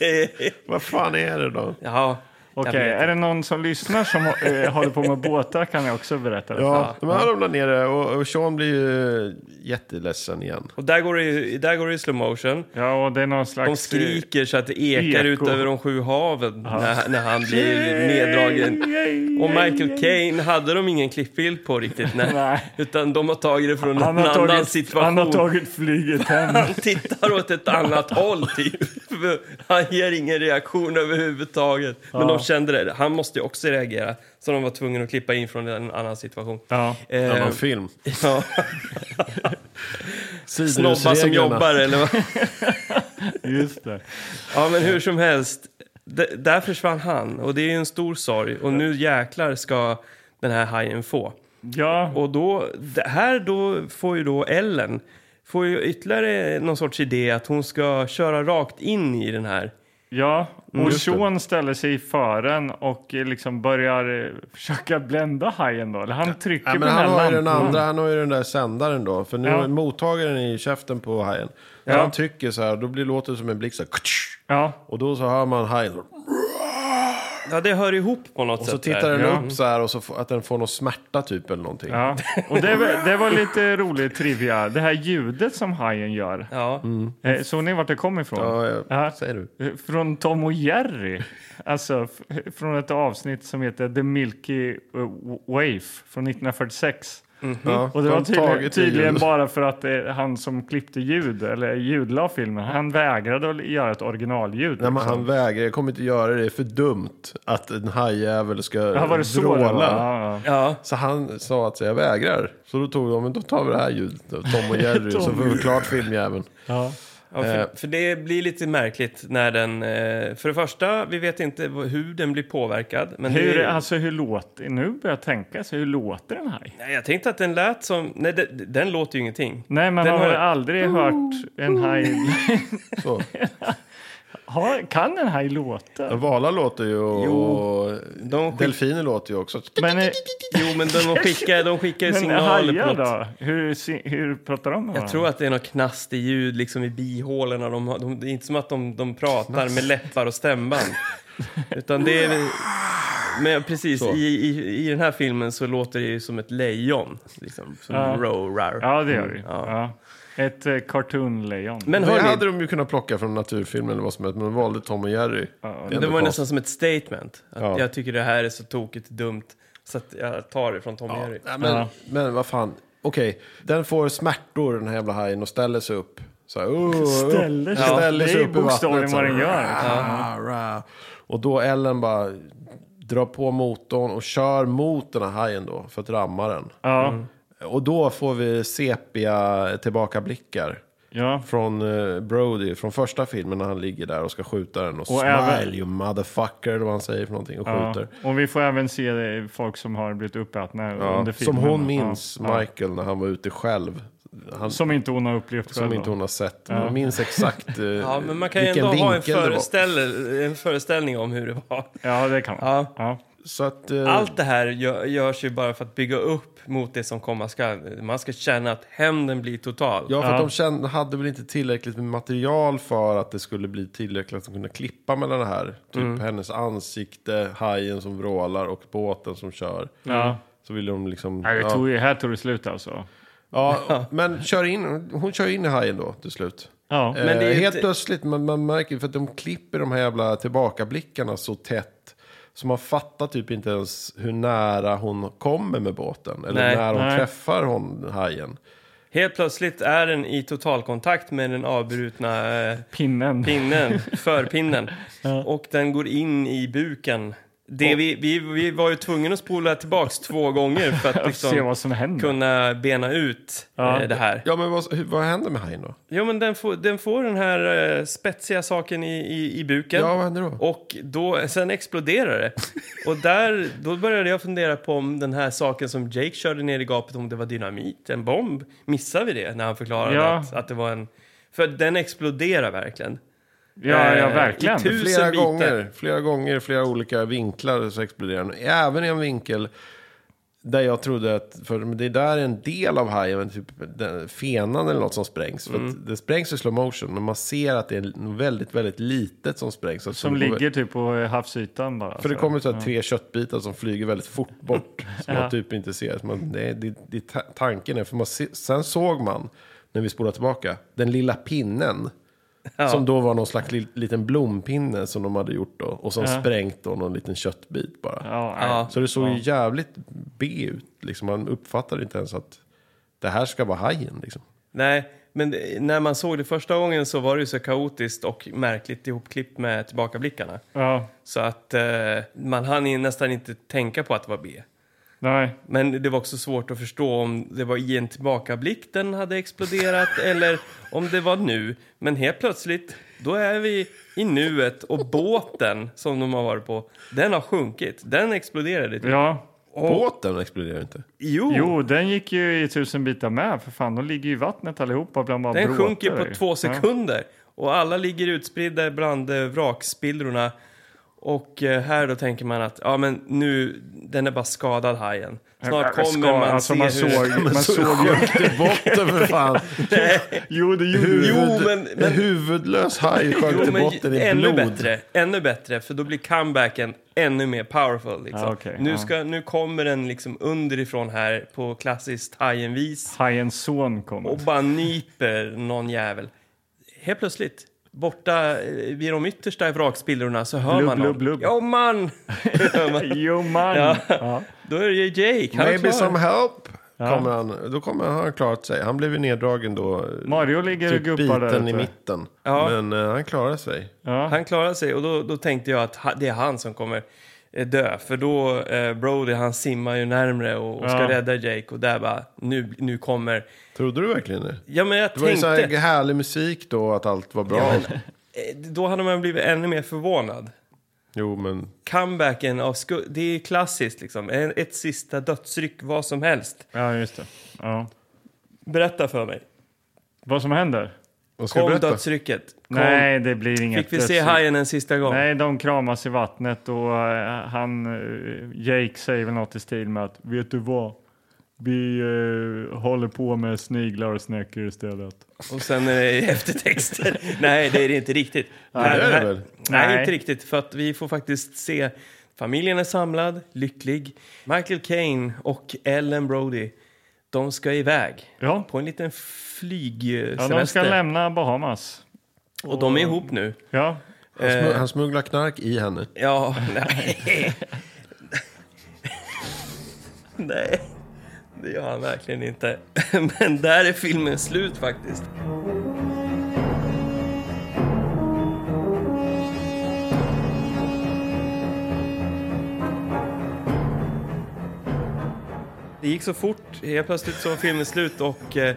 S1: Det-
S3: Vad fan är det då?
S1: ja. jag
S2: Okej,
S1: vet.
S2: är det någon som lyssnar som eh, håller på med båtar kan jag också berätta det.
S3: Ja, de här ramlar ner där och, och Sean blir ju jätteledsen igen.
S1: Och där går det ju, där går det i slow motion.
S2: Ja, och det är någon slags... eh,
S1: De skriker så att det ekar
S2: Eko.
S1: ut över de sju haven när, när han blir neddragen. Och Michael Caine hade de ingen klippbild på riktigt. Nej.
S2: *laughs* Nej.
S1: Utan de har tagit det från
S2: Han
S1: en
S2: har,
S1: annan
S2: tagit,
S1: situation.
S2: han har tagit flyget hem.
S1: Han tittar åt ett annat håll typ. För Han ger ingen reaktion överhuvudtaget. Men de kände det. Han måste ju också reagera. Så de var tvungna att klippa in från en annan situation.
S2: Ja.
S1: Eh,
S3: Annan film.
S2: *laughs*
S1: ja. Snobbar som
S3: Sidorusreglerna.
S1: jobbar eller vad?
S2: Just det.
S1: Ja, men hur som helst. D- där försvann han och det är ju en stor sorg. Och nu jäklar ska den här hajen få.
S2: Ja,
S1: Och då, det här då får ju då Ellen får ju ytterligare någon sorts idé att hon ska köra rakt in i den här.
S2: ja.
S1: Mm,
S2: och
S3: Just det.
S2: Sean ställer sig i fören och eh, liksom börjar eh, försöka blända hajen då. Eller han trycker
S3: Nej,
S2: på Mm.
S3: men
S2: den
S3: han
S2: här
S3: har ju den
S2: lampan.
S3: andra, han har ju den där sändaren då. För nu
S2: Ja.
S3: mottagaren är i käften på hajen. När
S2: Ja.
S3: han trycker så här, då blir låter det som en blixt så här, ktsch.
S2: Ja,
S3: Och då så hör man hajen.
S1: Ja, det hör ihop på något
S3: Och
S1: sätt.
S3: så tittar
S1: där.
S3: den
S2: Ja.
S3: upp så här och så får, att den får någon smärta typ eller någonting.
S2: ja. Och det, var- det var lite rolig trivia. Det här ljudet som hajen gör.
S1: Ja.
S2: Eh, Såg ni vart det kom ifrån?
S3: Mm. Ja, jag-
S2: Ja.
S3: säger du.
S2: Eh, Från Tom och Jerry. Alltså f- från ett avsnitt som heter The Milky eh, Wave från 1946.
S1: Mhm.
S3: Ja,
S2: Och det var
S3: de har
S2: tydligen,
S3: tagit i
S2: tydligen
S3: den.
S2: bara för att eh, han som klippte ljud, eller ljudlade filmen, han vägrade att göra ett originalljud.
S3: Nej, men
S2: liksom.
S3: han vägrar, jag kommer inte göra det, det är för dumt att en hajjävel ska
S2: Ja, var det så det var?
S3: vråla.
S2: Ja, ja.
S1: ja.
S3: Så han sa att jag vägrar. Så då tog de, men då tar vi det här ljudet då. *laughs* Tom och Jerry, så får vi klart filmjäveln.
S1: Ja,
S2: Eh.
S1: för, för det blir lite märkligt när den... Eh, för det första, vi vet inte vad- hur den blir påverkad. Men
S2: Hur,
S1: det,
S2: alltså, hur låter... Nu börjar jag tänka, så hur låter den här?
S1: Nej, jag tänkte att den lät som... Nej, de- den låter ju ingenting.
S2: Nej, man
S1: Den
S2: har
S1: har-
S2: väl aldrig hört en haj... *laughs*
S3: Så.
S2: Ha- Kan en haj låta?
S3: Valar låter ju och, och
S1: De skick-
S3: delfiner låter ju också.
S2: Men, eh,
S1: Jo, men
S2: *laughs*
S1: de skickar, de skickar ju
S2: men
S1: signaler på
S2: hajar
S1: något.
S2: då? Hur, si- hur pratar de med
S1: Jag tror att det är något knastig ljud liksom i bihålorna. De, har- de, det är inte som att de, de pratar med läppar och
S2: *laughs*
S1: stämband. Utan det är... Men precis, i, i, i den här filmen så låter det ju som ett lejon. Liksom, som
S2: Ja.
S1: roarar.
S2: Ja, det gör det.
S1: Mm, Ja.
S2: Ja. Ett eh, cartoonlejon.
S1: Men
S3: Det
S1: hörni,
S3: hade de ju kunnat plocka från naturfilmen eller vad som helst, men de valde Tom och Jerry.
S1: Men det var ju nästan som ett statement. Att
S3: Ja.
S1: Jag tycker det här är så tokigt dumt så att jag tar det från Tom och Jerry.
S3: Ja, men,
S2: Ja.
S3: men vad fan, okej. Den får smärtor den här jävla hajen och ställer sig upp. Så här, oh, upp.
S2: Ställer sig upp.
S3: ställer sig
S2: Det är
S3: upp i
S2: bokstavligen
S3: vattnet. så här,
S2: vad den gör.
S3: "Rah, rah." Och då Ellen bara drar på motorn och kör mot den här hajen då för att ramma den.
S2: Ja.
S1: Mm.
S3: Och då får vi sepia tillbakablickar.
S2: Ja.
S3: Från eh, Brody, från första filmen när han ligger där och ska skjuta den. Och, smile
S2: även-
S3: you motherfucker, eller vad han säger för någonting, och
S2: Ja.
S3: skjuter.
S2: Och vi får även se eh, folk som har blivit uppätna
S3: Ja,
S2: under filmen.
S3: som hon
S2: Ja.
S3: minns
S2: Ja.
S3: Michael när han var ute själv. Han, som
S2: Som inte hon har upplevt själv.
S3: inte
S2: då.
S3: hon har sett. Men minns exakt
S1: *laughs*
S3: eh,
S1: Ja, men man kan ju
S3: vilken
S1: ändå ha en,
S3: vinkel det var.
S1: föreställ- en föreställning om hur det var.
S2: Ja, det kan hon.
S1: Ja.
S2: Ja.
S3: Så att, eh,
S1: Allt det här gör, görs ju bara för att bygga upp mot det som komma skall. Man ska känna att hämnden blir total.
S3: Ja, för att de kände, hade väl inte tillräckligt med material för att det skulle bli tillräckligt att kunna klippa mellan det här. Typ
S2: Mm.
S3: hennes ansikte, hajen som vrålar och båten som kör.
S2: Ja.
S3: Så ville de liksom...
S2: Nej, det
S3: ja.
S2: tog, ju- här tog det slut alltså. *laughs*
S3: Ja, men kör in, hon kör in i hajen då till slut.
S2: Ja.
S1: Men det är
S3: eh,
S1: ju
S3: helt
S1: inte-
S3: plötsligt, man, man märker för att de klipper de här jävla tillbakablickarna så tätt. Så man fattar typ inte ens hur nära hon kommer med båten. Eller
S1: Nej.
S3: när hon
S2: Nej.
S3: träffar hon hajen.
S1: Helt plötsligt är den i totalkontakt med den avbrutna eh,
S2: Pinnen.
S3: *laughs*
S1: pinnen, förpinnen. Och den går in i buken. Det vi, vi, vi var ju tvungna att spola tillbaks två gånger för
S3: *laughs*
S1: att
S2: se
S1: liksom
S2: vad som händer.
S1: kunna bena ut
S2: Mm. Ja.
S1: eh, det här.
S3: Ja, men vad, hur- vad händer med hajen då?
S1: Jo, men den får, den får den här eh, spetsiga saken i, i, i buken.
S3: Ja, vad händer då?
S1: Och då, sen exploderar
S3: *laughs*
S1: det. Och där, då började jag fundera på om den här saken som Jake körde ner i gapet, om det var dynamit, en bomb. Missade vi det när han förklarade
S2: Ja.
S1: att, att det var en... För den exploderar verkligen.
S2: Ja, ja,
S1: Eh,
S2: verkligen.
S1: i tu- Tusen
S3: Flera
S1: bitar.
S3: gånger, flera gånger, flera olika vinklar så exploderar den. Även i en vinkel Där jag trodde att, för det där är en del av hajen, men typ den- fenan eller något som sprängs. För
S1: Mm.
S3: att det sprängs i slow motion, men man ser att det är något väldigt, väldigt litet som sprängs. Så
S2: Som
S3: det kommer-
S2: ligger typ på eh, havsytan bara.
S3: För det
S2: så.
S3: kommer så här tre köttbitar som flyger väldigt fort bort. Som
S2: Ja.
S3: man typ inte ser. Så Man, det, är- det, det, är ta- tanken är, för man se, sen såg man, när vi spolar tillbaka, den lilla pinnen. Som då var någon slags li, liten blompinne som de hade gjort då. Och som sprängt då någon liten köttbit bara.
S2: Ja, nej.
S1: Ja.
S3: Så det såg ju jävligt B ut. Liksom. Man uppfattade inte ens att det här ska vara hajen. Liksom.
S1: Nej, men det- när man såg det första gången så var det ju så kaotiskt och märkligt ihopklippt med tillbakablickarna.
S2: ja.
S1: Så att eh, man hann ju nästan inte tänka på att det var B.
S2: Nej.
S1: Men det var också svårt att förstå om det var i en tillbakablick den hade
S2: *laughs*
S1: exploderat eller om det var nu. Men helt plötsligt, då är vi i nuet och båten som de har varit på, den har sjunkit. Den exploderade. typ.
S2: Ja.
S3: Båten exploderar inte.
S1: Jo,
S2: Jo, den gick ju i tusen bitar med för fan. De ligger ju i vattnet allihopa bland bara
S1: den
S2: bråtar
S1: sjunker
S2: ju.
S1: på två
S2: Ja.
S1: sekunder. Och alla ligger utspridda bland eh, vrakspillrorna. Och eh, här då tänker man att ja, men nu, den är bara skadad hajen. Snart
S2: Jag
S1: kommer
S2: ska-
S1: man
S2: alltså,
S1: se
S2: man
S1: hur...
S2: såg,
S1: *laughs*
S2: man såg ju...
S3: Sjönk till botten för fan.
S2: Jo, det gjorde
S1: Jo,
S2: ju.
S1: men- men-
S3: En huvudlös haj sjönk till botten i
S1: ännu
S3: blod.
S1: bättre, ännu bättre, för då blir comebacken ännu mer powerful. Liksom.
S2: Ja, okej,
S1: nu,
S2: ja.
S1: ska, nu kommer den liksom underifrån här på klassiskt hajenvis
S2: Hajens son kommer.
S1: och bara nyper någon jävel. Helt plötsligt, borta eh, vid de yttersta vrakspillrorna så hör
S2: Blubb,
S1: man någon.
S2: blubb, blubb.
S1: Jo
S3: *laughs*
S1: man! *laughs* Hör man.
S2: Jo, man.
S1: Ja.
S2: Ja.
S1: då är det ju Jake, han är klar.
S3: Maybe some help. Kommer han, då kommer han, han har klarat sig. Han blev ju neddragen då.
S2: Mario ligger och
S3: typ
S2: guppar där
S3: biten i
S2: ute.
S3: mitten.
S1: Ja.
S3: Men eh, han klarade sig.
S2: Ja.
S1: Han klarade sig och då, då tänkte jag att ha, det är han som kommer eh, dö. För då eh, Brody han simmar ju närmre och, och ska
S2: Ja.
S1: rädda Jake och där bara nu, nu kommer...
S3: Trodde du verkligen det?
S1: Ja men jag
S3: Det var ju så
S1: tänkte...
S3: här härlig musik då, att allt var bra.
S1: eh, Då hade man blivit ännu mer förvånad.
S3: Jo, men
S1: Comebacken av sku- Det är klassiskt liksom. En- Ett sista dödsryck, vad som helst.
S2: ja, just det. Ja.
S1: Berätta för mig.
S2: Vad som händer?
S3: vad ska
S1: Kom
S3: du berätta?
S1: dödsrycket. Kom.
S2: Nej, det blir inget.
S1: Fick vi se
S2: dödsryck.
S1: hajen en sista gång?
S2: Nej, de kramas i vattnet och eh, han, eh, Jake säger väl något i stil med att vet du vad? Vi eh, håller på med sniglar och snäckor istället.
S1: Och sen är det
S2: *laughs*
S1: eftertexter. Nej, det är det inte riktigt.
S3: det är det
S1: här-
S3: väl?
S1: Nej,
S2: Nej.
S1: inte riktigt. För att vi får faktiskt se familjen är samlad, lycklig. Michael Caine och Ellen Brody, de ska iväg
S2: Ja,
S1: på en liten
S2: ja
S1: flygsemester.
S2: de ska lämna Bahamas.
S1: Och de är ihop nu. Eh,
S2: Ja,
S3: Han, smu- Eh, han smugglar knark i henne.
S1: Ja, nej. *laughs* nej, det gör han verkligen inte. *laughs* Men där är filmen slut faktiskt. Det gick så fort, helt plötsligt så var filmen slut och eh,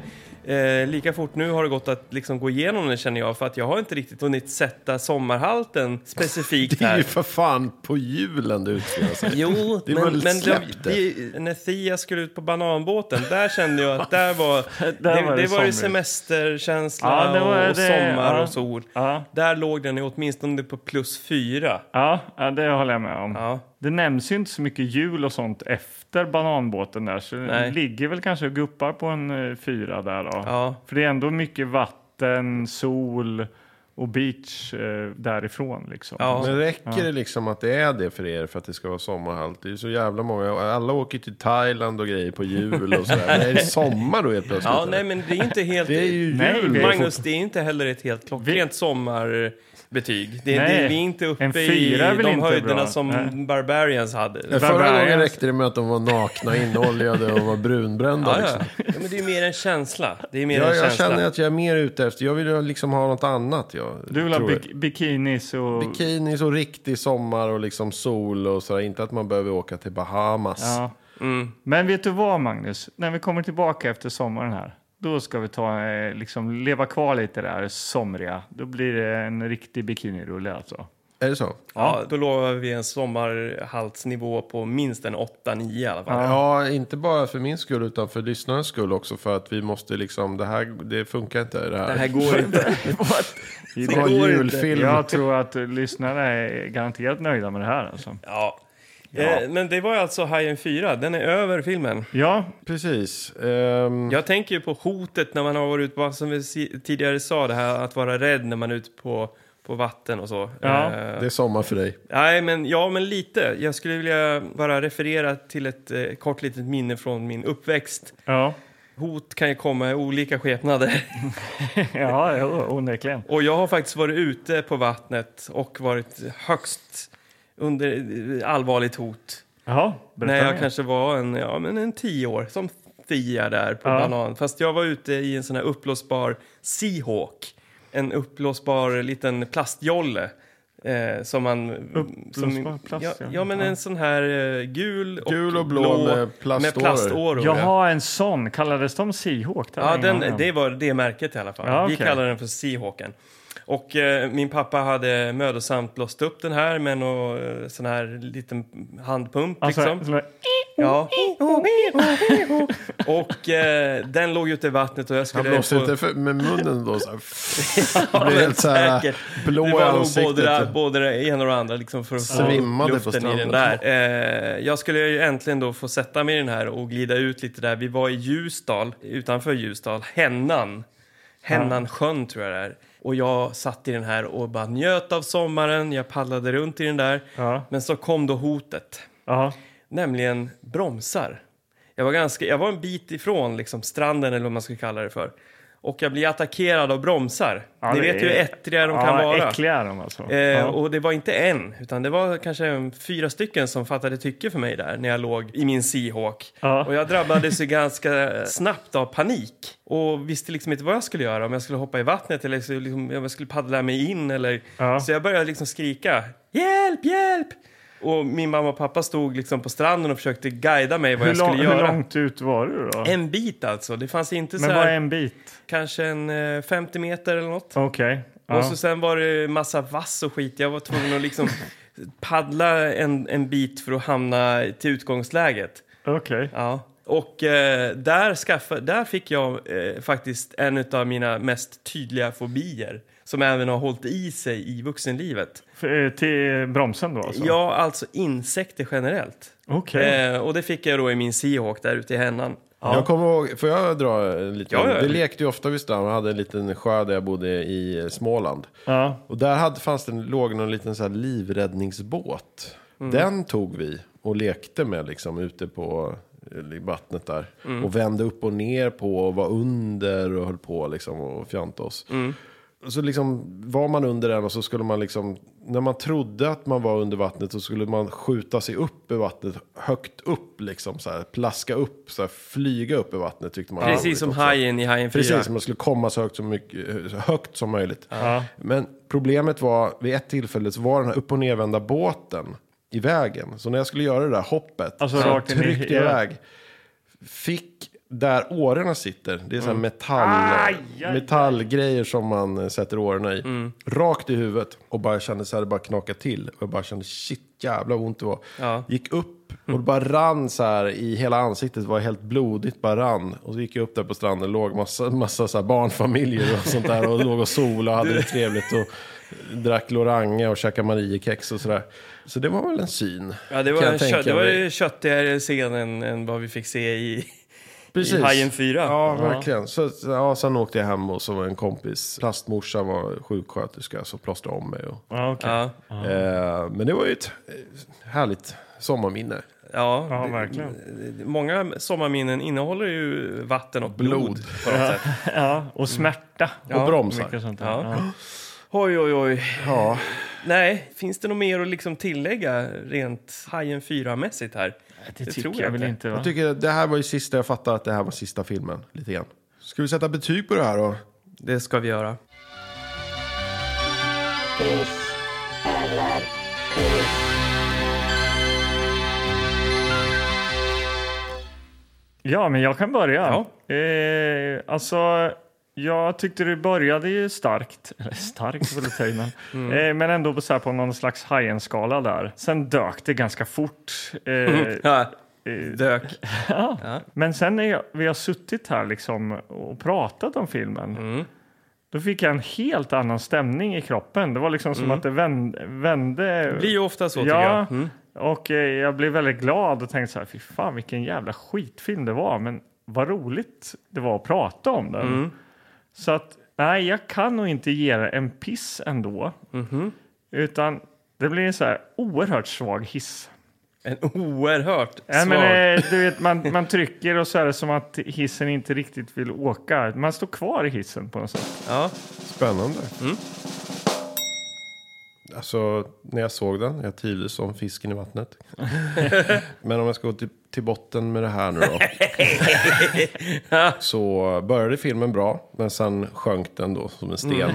S1: eh, lika fort nu har det gått att liksom gå igenom den känner jag för att jag har inte riktigt hunnit sätta sommarhalten specifikt
S3: *laughs* Det är
S1: här.
S3: ju för fan på julen det utspelar sig.
S1: Jo,
S3: Det var
S1: men,
S3: väl
S1: men det,
S3: släppt
S1: det, när Thea skulle ut på bananbåten, där kände jag att där var, det,
S2: var
S1: det,
S2: det
S1: var ju
S2: somrigt.
S1: semesterkänsla
S2: Ja, det var
S1: och, och
S2: det,
S1: sommar
S2: ja.
S1: och sol.
S2: ja,
S1: Där låg den ju åtminstone på plus fyra.
S2: ja, ja det håller jag med om.
S1: Ja.
S2: Det nämns ju inte så mycket jul och sånt efter bananbåten där, så
S1: Nej.
S2: den ligger väl kanske och guppar på en eh, fyra där då.
S1: Ja.
S2: För det är ändå mycket vatten, sol och beach eh, därifrån liksom.
S1: Ja.
S3: *laughs* Men räcker det liksom att det är det för er för att det ska vara sommarhalt? Det är ju så jävla många. Alla åker till Thailand och grejer på jul och sådär. Men är det sommar då helt plötsligt?
S1: Ja,
S3: eller?
S1: nej, men det är inte helt...
S3: Det är ju
S2: Nej,
S3: jul.
S2: vi-
S1: Magnus, det är inte heller ett helt klockrent sommarbetyg. Det, det, vi
S2: Nej,
S1: är inte
S2: en
S1: uppe i
S2: fyra är väl
S1: de
S2: inte
S1: höjderna
S2: bra.
S1: som
S2: Nej.
S1: Barbarians hade.
S3: Förra gången
S2: Barbarians.
S3: räckte det med att de var nakna, inoljade och var brunbrända.
S1: Ja,
S3: liksom.
S1: ja. ja, men det är mer en känsla. Det är mer
S3: Jag,
S1: en
S3: jag
S1: känsla.
S3: känner att jag är mer ute efter, jag vill ju liksom ha något annat. Jag,
S2: Du vill ha
S3: tror jag.
S2: bik- bikinis och...
S3: bikinis och riktig sommar och liksom sol och sådär. Inte att man behöver åka till Bahamas.
S2: ja.
S1: Mm.
S2: Men vet du vad Magnus, när vi kommer tillbaka efter sommaren här, då ska vi ta, eh, liksom leva kvar lite där somriga. Då blir det en riktig bikinirulle alltså.
S3: Är det så?
S1: Ja, då lovar vi en sommarhaltsnivå på minst en 8-9 i alla fall.
S3: Ja, inte bara för min skull utan för lyssnarens skull också. För att vi måste liksom, det här, det funkar inte det här.
S1: Det här går inte.
S3: det var
S1: går
S3: julfilm.
S2: Jag tror att lyssnare är garanterat nöjda med det här alltså.
S1: Ja. Eh, Men det var alltså Hajen 4, den är över filmen.
S2: Ja,
S3: Precis. Ehm,
S1: Jag tänker ju på hotet när man har varit ute, på- som vi si- tidigare sa, det här att vara rädd när man är ute på, på vatten och så.
S2: Ja.
S1: Eh,
S3: Det är sommar för dig.
S1: nej, men, ja, men lite. Jag skulle vilja bara referera till ett eh, kort litet minne från min uppväxt.
S2: ja,
S1: Hot kan ju komma i olika skepnader.
S2: *laughs*
S1: *laughs*
S2: ja, jo, onekligen.
S1: Och jag har faktiskt varit ute på vattnet och varit högst under allvarligt hot.
S2: Jaha, berätta
S1: när jag
S2: mer.
S1: kanske var en, ja, men en tio år, som Thea där på
S2: Ja.
S1: banan. Fast jag var ute i en sån här uppblåsbar Seahawk. En uppblåsbar liten plastjolle. Eh, som man...
S2: Uppblåsbar
S1: ja,
S2: plastjolle?
S1: ja, men en sån här eh, gul och,
S3: Gul och blå med plaståror.
S1: plaståror.
S2: Jaha, en sån. Kallades de Seahawk? där
S1: Ja,
S2: en
S1: den,
S2: gång?
S1: det var det märket i alla fall.
S2: Ja,
S1: Vi
S2: okej.
S1: kallar den för Seahawken. Och eh, min pappa hade mödosamt blåst upp den här med någon eh, sån här liten handpump.
S2: Alltså,
S1: liksom.
S2: som- *laughs*
S1: Ja. Och eh, den låg ute i vattnet och jag
S3: Han
S1: skulle...
S3: blåser
S1: få-
S3: inte för, med munnen då så här.
S1: *laughs* Ja,
S3: blir
S1: men
S3: helt så här
S1: säkert.
S3: blå
S1: det
S3: i
S1: var nog
S3: ansiktet. typ.
S1: Både, både det ena och det andra liksom för att få
S3: Svimmade på
S1: upp luften i den
S3: stranden.
S1: där. Eh, jag skulle ju äntligen då få sätta mig i den här och glida ut lite där. Vi var i Ljusdal, utanför Ljusdal, Hennan. Hennan sjön tror jag det är. Och jag satt i den här och bara njöt av sommaren. Jag paddlade runt i den där.
S2: Ja.
S1: Men så kom då hotet
S2: ja,
S1: nämligen bromsar. Jag var, ganska, jag var en bit ifrån liksom, stranden eller vad man ska kalla det för. Och jag blir attackerad av bromsar.
S2: Ja,
S1: Ni
S2: det
S1: vet ju hur
S2: är-
S1: ättriga de
S2: ja,
S1: kan vara.
S2: Äckliga är de alltså.
S1: Eh,
S2: ja.
S1: Och det var inte en, utan det var kanske en, fyra stycken som fattade tycke för mig där när jag låg i min Seahawk.
S2: Ja.
S1: Och jag drabbades ju ganska snabbt av panik och visste liksom inte vad jag skulle göra. Om jag skulle hoppa i vattnet eller så liksom, om jag skulle paddla mig in eller...
S2: Ja.
S1: Så jag började liksom skrika Hjälp, hjälp! Och min mamma och pappa stod liksom på stranden och försökte guida mig vad
S2: hur,
S1: jag skulle
S2: lång, hur
S1: göra.
S2: långt ut var du då?
S1: En bit alltså. Det fanns inte så
S2: Men vad
S1: här,
S2: är en bit?
S1: kanske en eh, 50 meter eller något.
S2: Okej. Ja.
S1: Och så sen var det massa vass och skit. Jag var tvungen att
S3: *laughs*
S1: liksom paddla en, en bit för att hamna till utgångsläget.
S2: Okej.
S1: Ja. Och eh, där, skaffa, där fick jag eh, faktiskt en av mina mest tydliga fobier som även har hållit i sig i vuxenlivet.
S2: För, eh, Till bromsen då alltså?
S1: Ja, alltså insekter generellt.
S2: Okej.
S1: Eh, och det fick jag då i min Seahawk där ute i Hennan.
S3: Jag kommer ihåg, får jag dra en liten?
S1: Ja, ja.
S3: Vi lekte ju ofta vid stranden och hade en liten sjö där jag bodde i Småland.
S2: Ja.
S3: Och där hade, fanns det, en- låg någon liten så här livräddningsbåt. Den tog vi och lekte med liksom ute på eh, i vattnet där. Och vände upp och ner på och var under och höll på liksom och fjantade oss. Och Så liksom var man under den och så skulle man liksom, när man trodde att man var under vattnet så skulle man skjuta sig upp i vattnet, högt upp liksom så här, plaska upp, så här, flyga upp i vattnet tyckte man. var roligt
S1: Precis som
S3: också.
S1: hajen i Hajen 4.
S3: Precis, man skulle komma så högt, som mycket, så högt som möjligt. Men problemet var, vid ett tillfälle så var den här upp och nervända båten i vägen. Så när jag skulle göra det där hoppet,
S2: Alltså
S3: så
S2: rakt in i-
S3: tryckte jag
S2: ja.
S3: iväg. Fick där årorna sitter, det är så här metall, metallgrejer som man eh, sätter årorna i.
S1: Mm.
S3: Rakt i huvudet och bara kände så här, det bara knaka till. Och jag bara kände shit, jävla ont det var.
S1: Ja. Mm.
S3: Gick upp och det bara rann så här i hela ansiktet, det var helt blodigt, bara rann. Och så gick jag upp där på stranden, det låg massa, massa så här barnfamiljer och sånt där och låg och solade och hade det trevligt. Och, Drack Lorange och käkade Mariekex och sådär. Så det var väl en syn.
S1: Ja, det var,
S3: kan jag
S1: en
S3: tänka
S1: kö- det var
S3: mig.
S1: ju köttigare scen än, än vad vi fick se i,
S3: Precis.
S1: i Hajen 4.
S3: Ja, verkligen. Så, så- ja, sen åkte jag hem och så var en kompis, plastmorsan var sjuksköterska, så plåstrade om mig. Och,
S2: Ja, okej.
S1: Ja,
S3: eh, men det var ju ett eh, härligt sommarminne.
S1: ja,
S2: ja,
S1: det-
S2: verkligen.
S1: Många sommarminnen innehåller ju vatten och blod.
S3: Blod.
S1: på något sätt.
S2: Ja, och smärta.
S3: Och bromsar.
S2: Mycket sånt där.
S1: Ja.
S2: Ja.
S1: Oj, oj, oj.
S3: Ja.
S1: Nej, finns det något mer att liksom tillägga rent Hajen 4-mässigt här?
S2: Det,
S1: Det
S2: tycker
S1: tror
S2: jag,
S1: jag
S2: väl
S1: inte.
S2: inte.
S3: Jag
S2: Va?
S3: tycker det här var ju sista, jag fattar att det här var sista filmen. Lite grann. Ska vi sätta betyg på det här då?
S1: Det ska vi göra.
S2: Ja, men jag kan börja. Eh, alltså, jag tyckte du började ju starkt. *laughs* Eller starkt var det att ta i,
S1: *laughs*
S2: men-
S1: Mm.
S2: eh, Men ändå på, så här, på någon slags high-end-skala där. Sen dök det ganska fort. Eh,
S1: Mm. Ja,
S2: eh,
S1: dök.
S2: Men sen när jag, vi har suttit här liksom och pratat om filmen
S1: Mm.
S2: då fick jag en helt annan stämning i kroppen. Det var liksom som att det vände. vände
S1: Det Mm. blir ju ofta så, tycker
S2: ja,
S1: jag. Mm.
S2: Och eh, jag blev väldigt glad och tänkte så här, fy fan vilken jävla skitfilm det var. Men vad roligt det var att prata om den.
S1: Mm.
S2: Så att nej, jag kan nog inte ge det en piss ändå.
S1: Mhm.
S2: Utan det blir en så här oerhört svag hiss.
S1: En oerhört
S2: Nej,
S1: svag...
S2: men, eh, du vet, man, man trycker och så är det som att hissen inte riktigt vill åka. Man står kvar i hissen på något sätt.
S1: ja.
S3: Spännande. Alltså, när jag såg den, jag trivdes som fisken i vattnet. Men om jag ska gå till, till botten med det här nu då. så började filmen bra, men sen sjönk den då som en sten.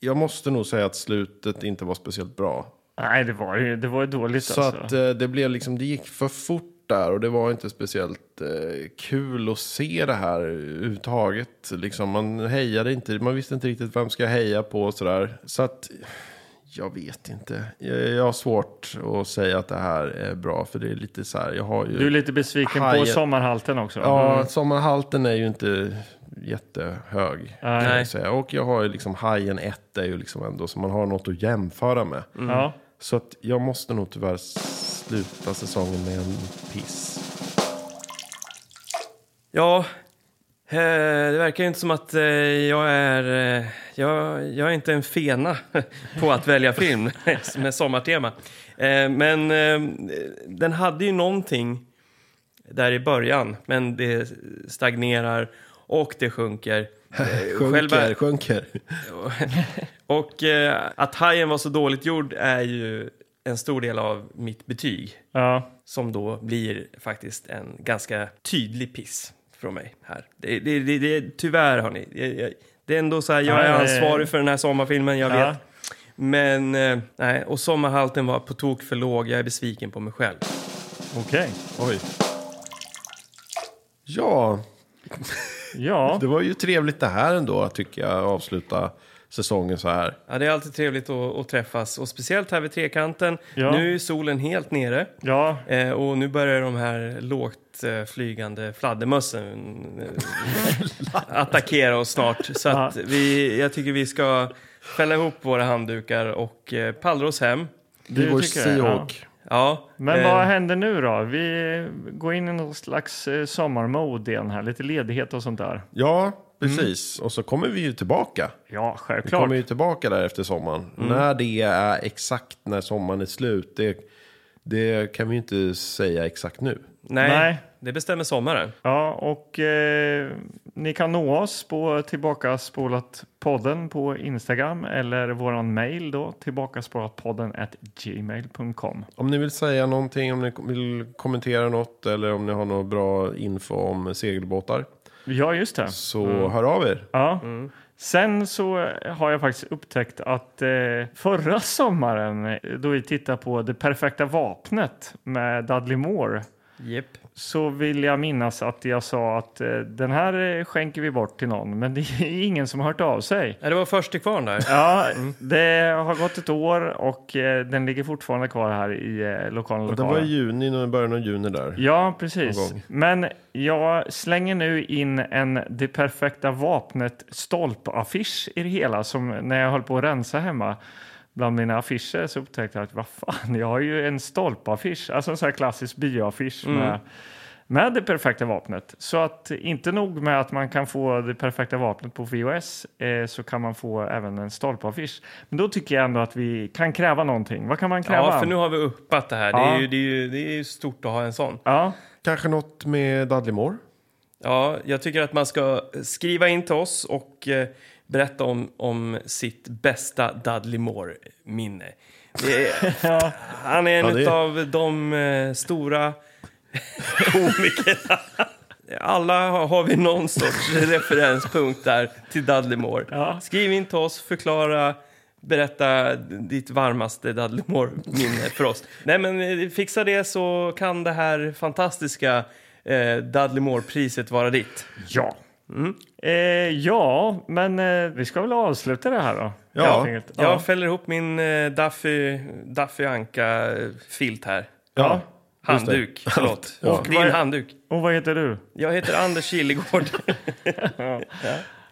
S3: Jag måste nog säga att slutet inte var speciellt bra.
S2: Nej, det var ju det var ju dåligt
S3: Så
S2: alltså.
S3: att eh, det blev liksom, det gick för fort där och det var inte speciellt eh, kul att se det här överhuvudtaget. Liksom, man hejade inte, man visste inte riktigt vem ska jag heja på och sådär. Så att, jag vet inte. Jag, jag har svårt att säga att det här är bra för det är lite så här, jag har ju...
S2: Du är lite Mm. besviken på
S3: Hajen.
S2: sommarhalten också.
S3: Ja, sommarhalten är ju inte jättehög. kan jag
S1: Nej.
S3: säga. Och jag har ju liksom, hajen 1 är ju liksom ändå, så man har något att jämföra med.
S2: Ja.
S3: Så att jag måste nog tyvärr sluta säsongen med en piss.
S1: Ja, eh, det verkar ju inte som att eh, jag är... Eh, jag, jag är inte en fena *laughs* på att välja film *laughs* med sommartema. Eh, men eh, den hade ju någonting där i början, men det stagnerar och det sjunker. Eh, själva-
S3: sjunker.
S1: Och eh, att hajen var så dåligt gjord är ju en stor del av mitt betyg.
S2: Ja.
S1: som då blir faktiskt en ganska tydlig piss från mig här. Det, det, det, det, tyvärr, hörni. Jag, jag, det är ändå så här, jag
S2: Ja,
S1: är
S2: ja, ja.
S1: ansvarig för den här sommarfilmen, jag
S2: Ja.
S1: vet. Men, eh, nej, och sommarhalten var på tok för låg. Jag är besviken på mig själv.
S2: Okej.
S3: Oj. Ja,
S2: Ja.
S3: det var ju trevligt det här ändå, tycker jag, att avsluta säsongen så här.
S1: Ja, det är alltid trevligt att, att träffas, och speciellt här vid trekanten.
S2: Ja.
S1: Nu är solen helt nere.
S2: Ja.
S1: Eh, och nu börjar de här lågt eh, flygande fladdermössen
S2: *laughs*
S1: eh, attackera oss snart. Så att vi, jag tycker vi ska fälla ihop våra handdukar och eh, pallra oss hem.
S3: Det
S2: Det
S3: är vår
S2: tycker jag, ja.
S3: Seahawk.
S1: Ja,
S2: Men
S1: eh,
S2: vad händer nu då? Vi går in i någon slags eh, sommarmode igen här. Lite ledighet och sånt där.
S3: Ja,
S2: Mm.
S3: precis. Och så kommer vi ju tillbaka.
S2: Ja,
S3: Vi
S2: självklart.
S3: kommer ju tillbaka där efter sommaren.
S2: Mm.
S3: När det är exakt när sommaren är slut, det, det kan vi ju inte säga exakt nu.
S1: nej,
S2: Nej.
S1: det bestämmer sommaren.
S2: Ja, och eh, ni kan nå oss på Tillbaka spolat podden på Instagram eller våran mail då tillbakaspolatpodden at gmail.com.
S3: Om ni vill säga någonting, om ni kom- vill kommentera något eller om ni har någon bra info om segelbåtar
S2: Ja, just det.
S3: så hör av er.
S2: Mm. Ja. Sen så har jag faktiskt upptäckt att eh, förra sommaren eh, då vi tittade på Det perfekta vapnet med Dudley Moore
S1: Yep.
S2: så vill jag minnas att jag sa att eh, den här eh, skänker vi bort till någon men det är *laughs* ingen som har hört av sig.
S1: Det var först till kvarn där.
S2: *laughs* Ja, det har gått ett år och eh, den ligger fortfarande kvar här i eh, lokalen.
S3: Det var i
S2: lokalen.
S3: juni, i början av juni där.
S2: Ja,
S3: någon
S2: precis.
S3: gång.
S2: Men jag slänger nu in en Det perfekta vapnet stolpaffisch i det hela. Som när jag höll på att rensa hemma bland mina affischer så upptäckte jag att vad fan, jag har ju en stolpaffisch. Alltså en sån här klassisk bioaffisch
S1: Mm.
S2: med, med Det perfekta vapnet. Så att inte nog med att man kan få Det perfekta vapnet på VHS eh, så kan man få även en stolpaffisch. Men då tycker jag ändå att vi kan kräva någonting. Vad kan man kräva?
S1: Ja, för nu har vi uppat det här. Det,
S2: Ja.
S1: är ju, det, är ju, det är ju stort att ha en sån.
S2: Ja.
S3: Kanske något med Dudley Moore?
S1: Ja, jag tycker att man ska skriva in till oss och eh, berätta om, om sitt bästa Dudley Moore-minne. Det är- Han är en
S3: Ja, det är-
S1: av de eh, stora komikerna. Alla har, har vi någon sorts
S3: *laughs*
S1: referenspunkt där till Dudley Moore.
S2: Ja.
S1: Skriv in till oss, förklara, berätta ditt varmaste Dudley Moore-minne för oss. Nej, men eh, fixa det så kan det här fantastiska eh, Dudley Moore-priset vara ditt.
S2: Ja. Eh, ja, men eh, vi ska väl avsluta det här då?
S3: Ja.
S2: helt enkelt.
S1: Jag
S2: ja.
S1: fäller ihop min eh, Daffy, Daffy Anka-filt eh, här.
S3: Ja.
S1: Handduk, förlåt.
S3: Ja.
S1: Och din handduk.
S2: Och vad heter du?
S1: Jag heter Anders Killegård.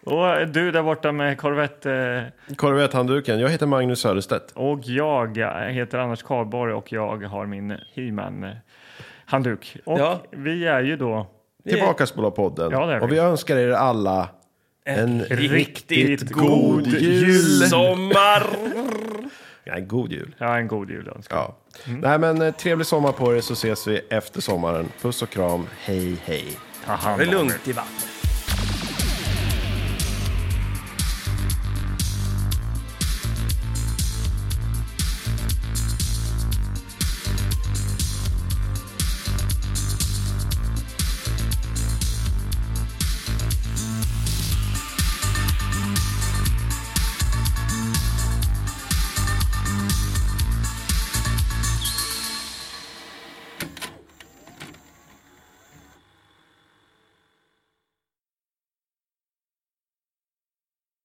S2: Och eh, du där borta med korvett... eh,
S3: Korvetthandduken, jag heter Magnus Söderstedt.
S2: Och jag eh, heter Anders Karlborg och jag har min He-Man-handduk. Och
S1: Ja.
S2: vi är ju då...
S3: Tillbaka spola podden.
S2: Ja, det är vi.
S3: och vi önskar er alla en,
S2: riktigt god jul.
S1: Sommar!
S3: Nej, god jul.
S2: Ja, en god julönskan.
S3: Ja.
S2: Mm.
S3: Nej, men eh, trevlig sommar på er så ses vi efter sommaren. Puss och kram. Hej, hej.
S2: Ta hand
S1: Det
S2: om
S1: är
S2: er.
S1: lugnt i vattnet.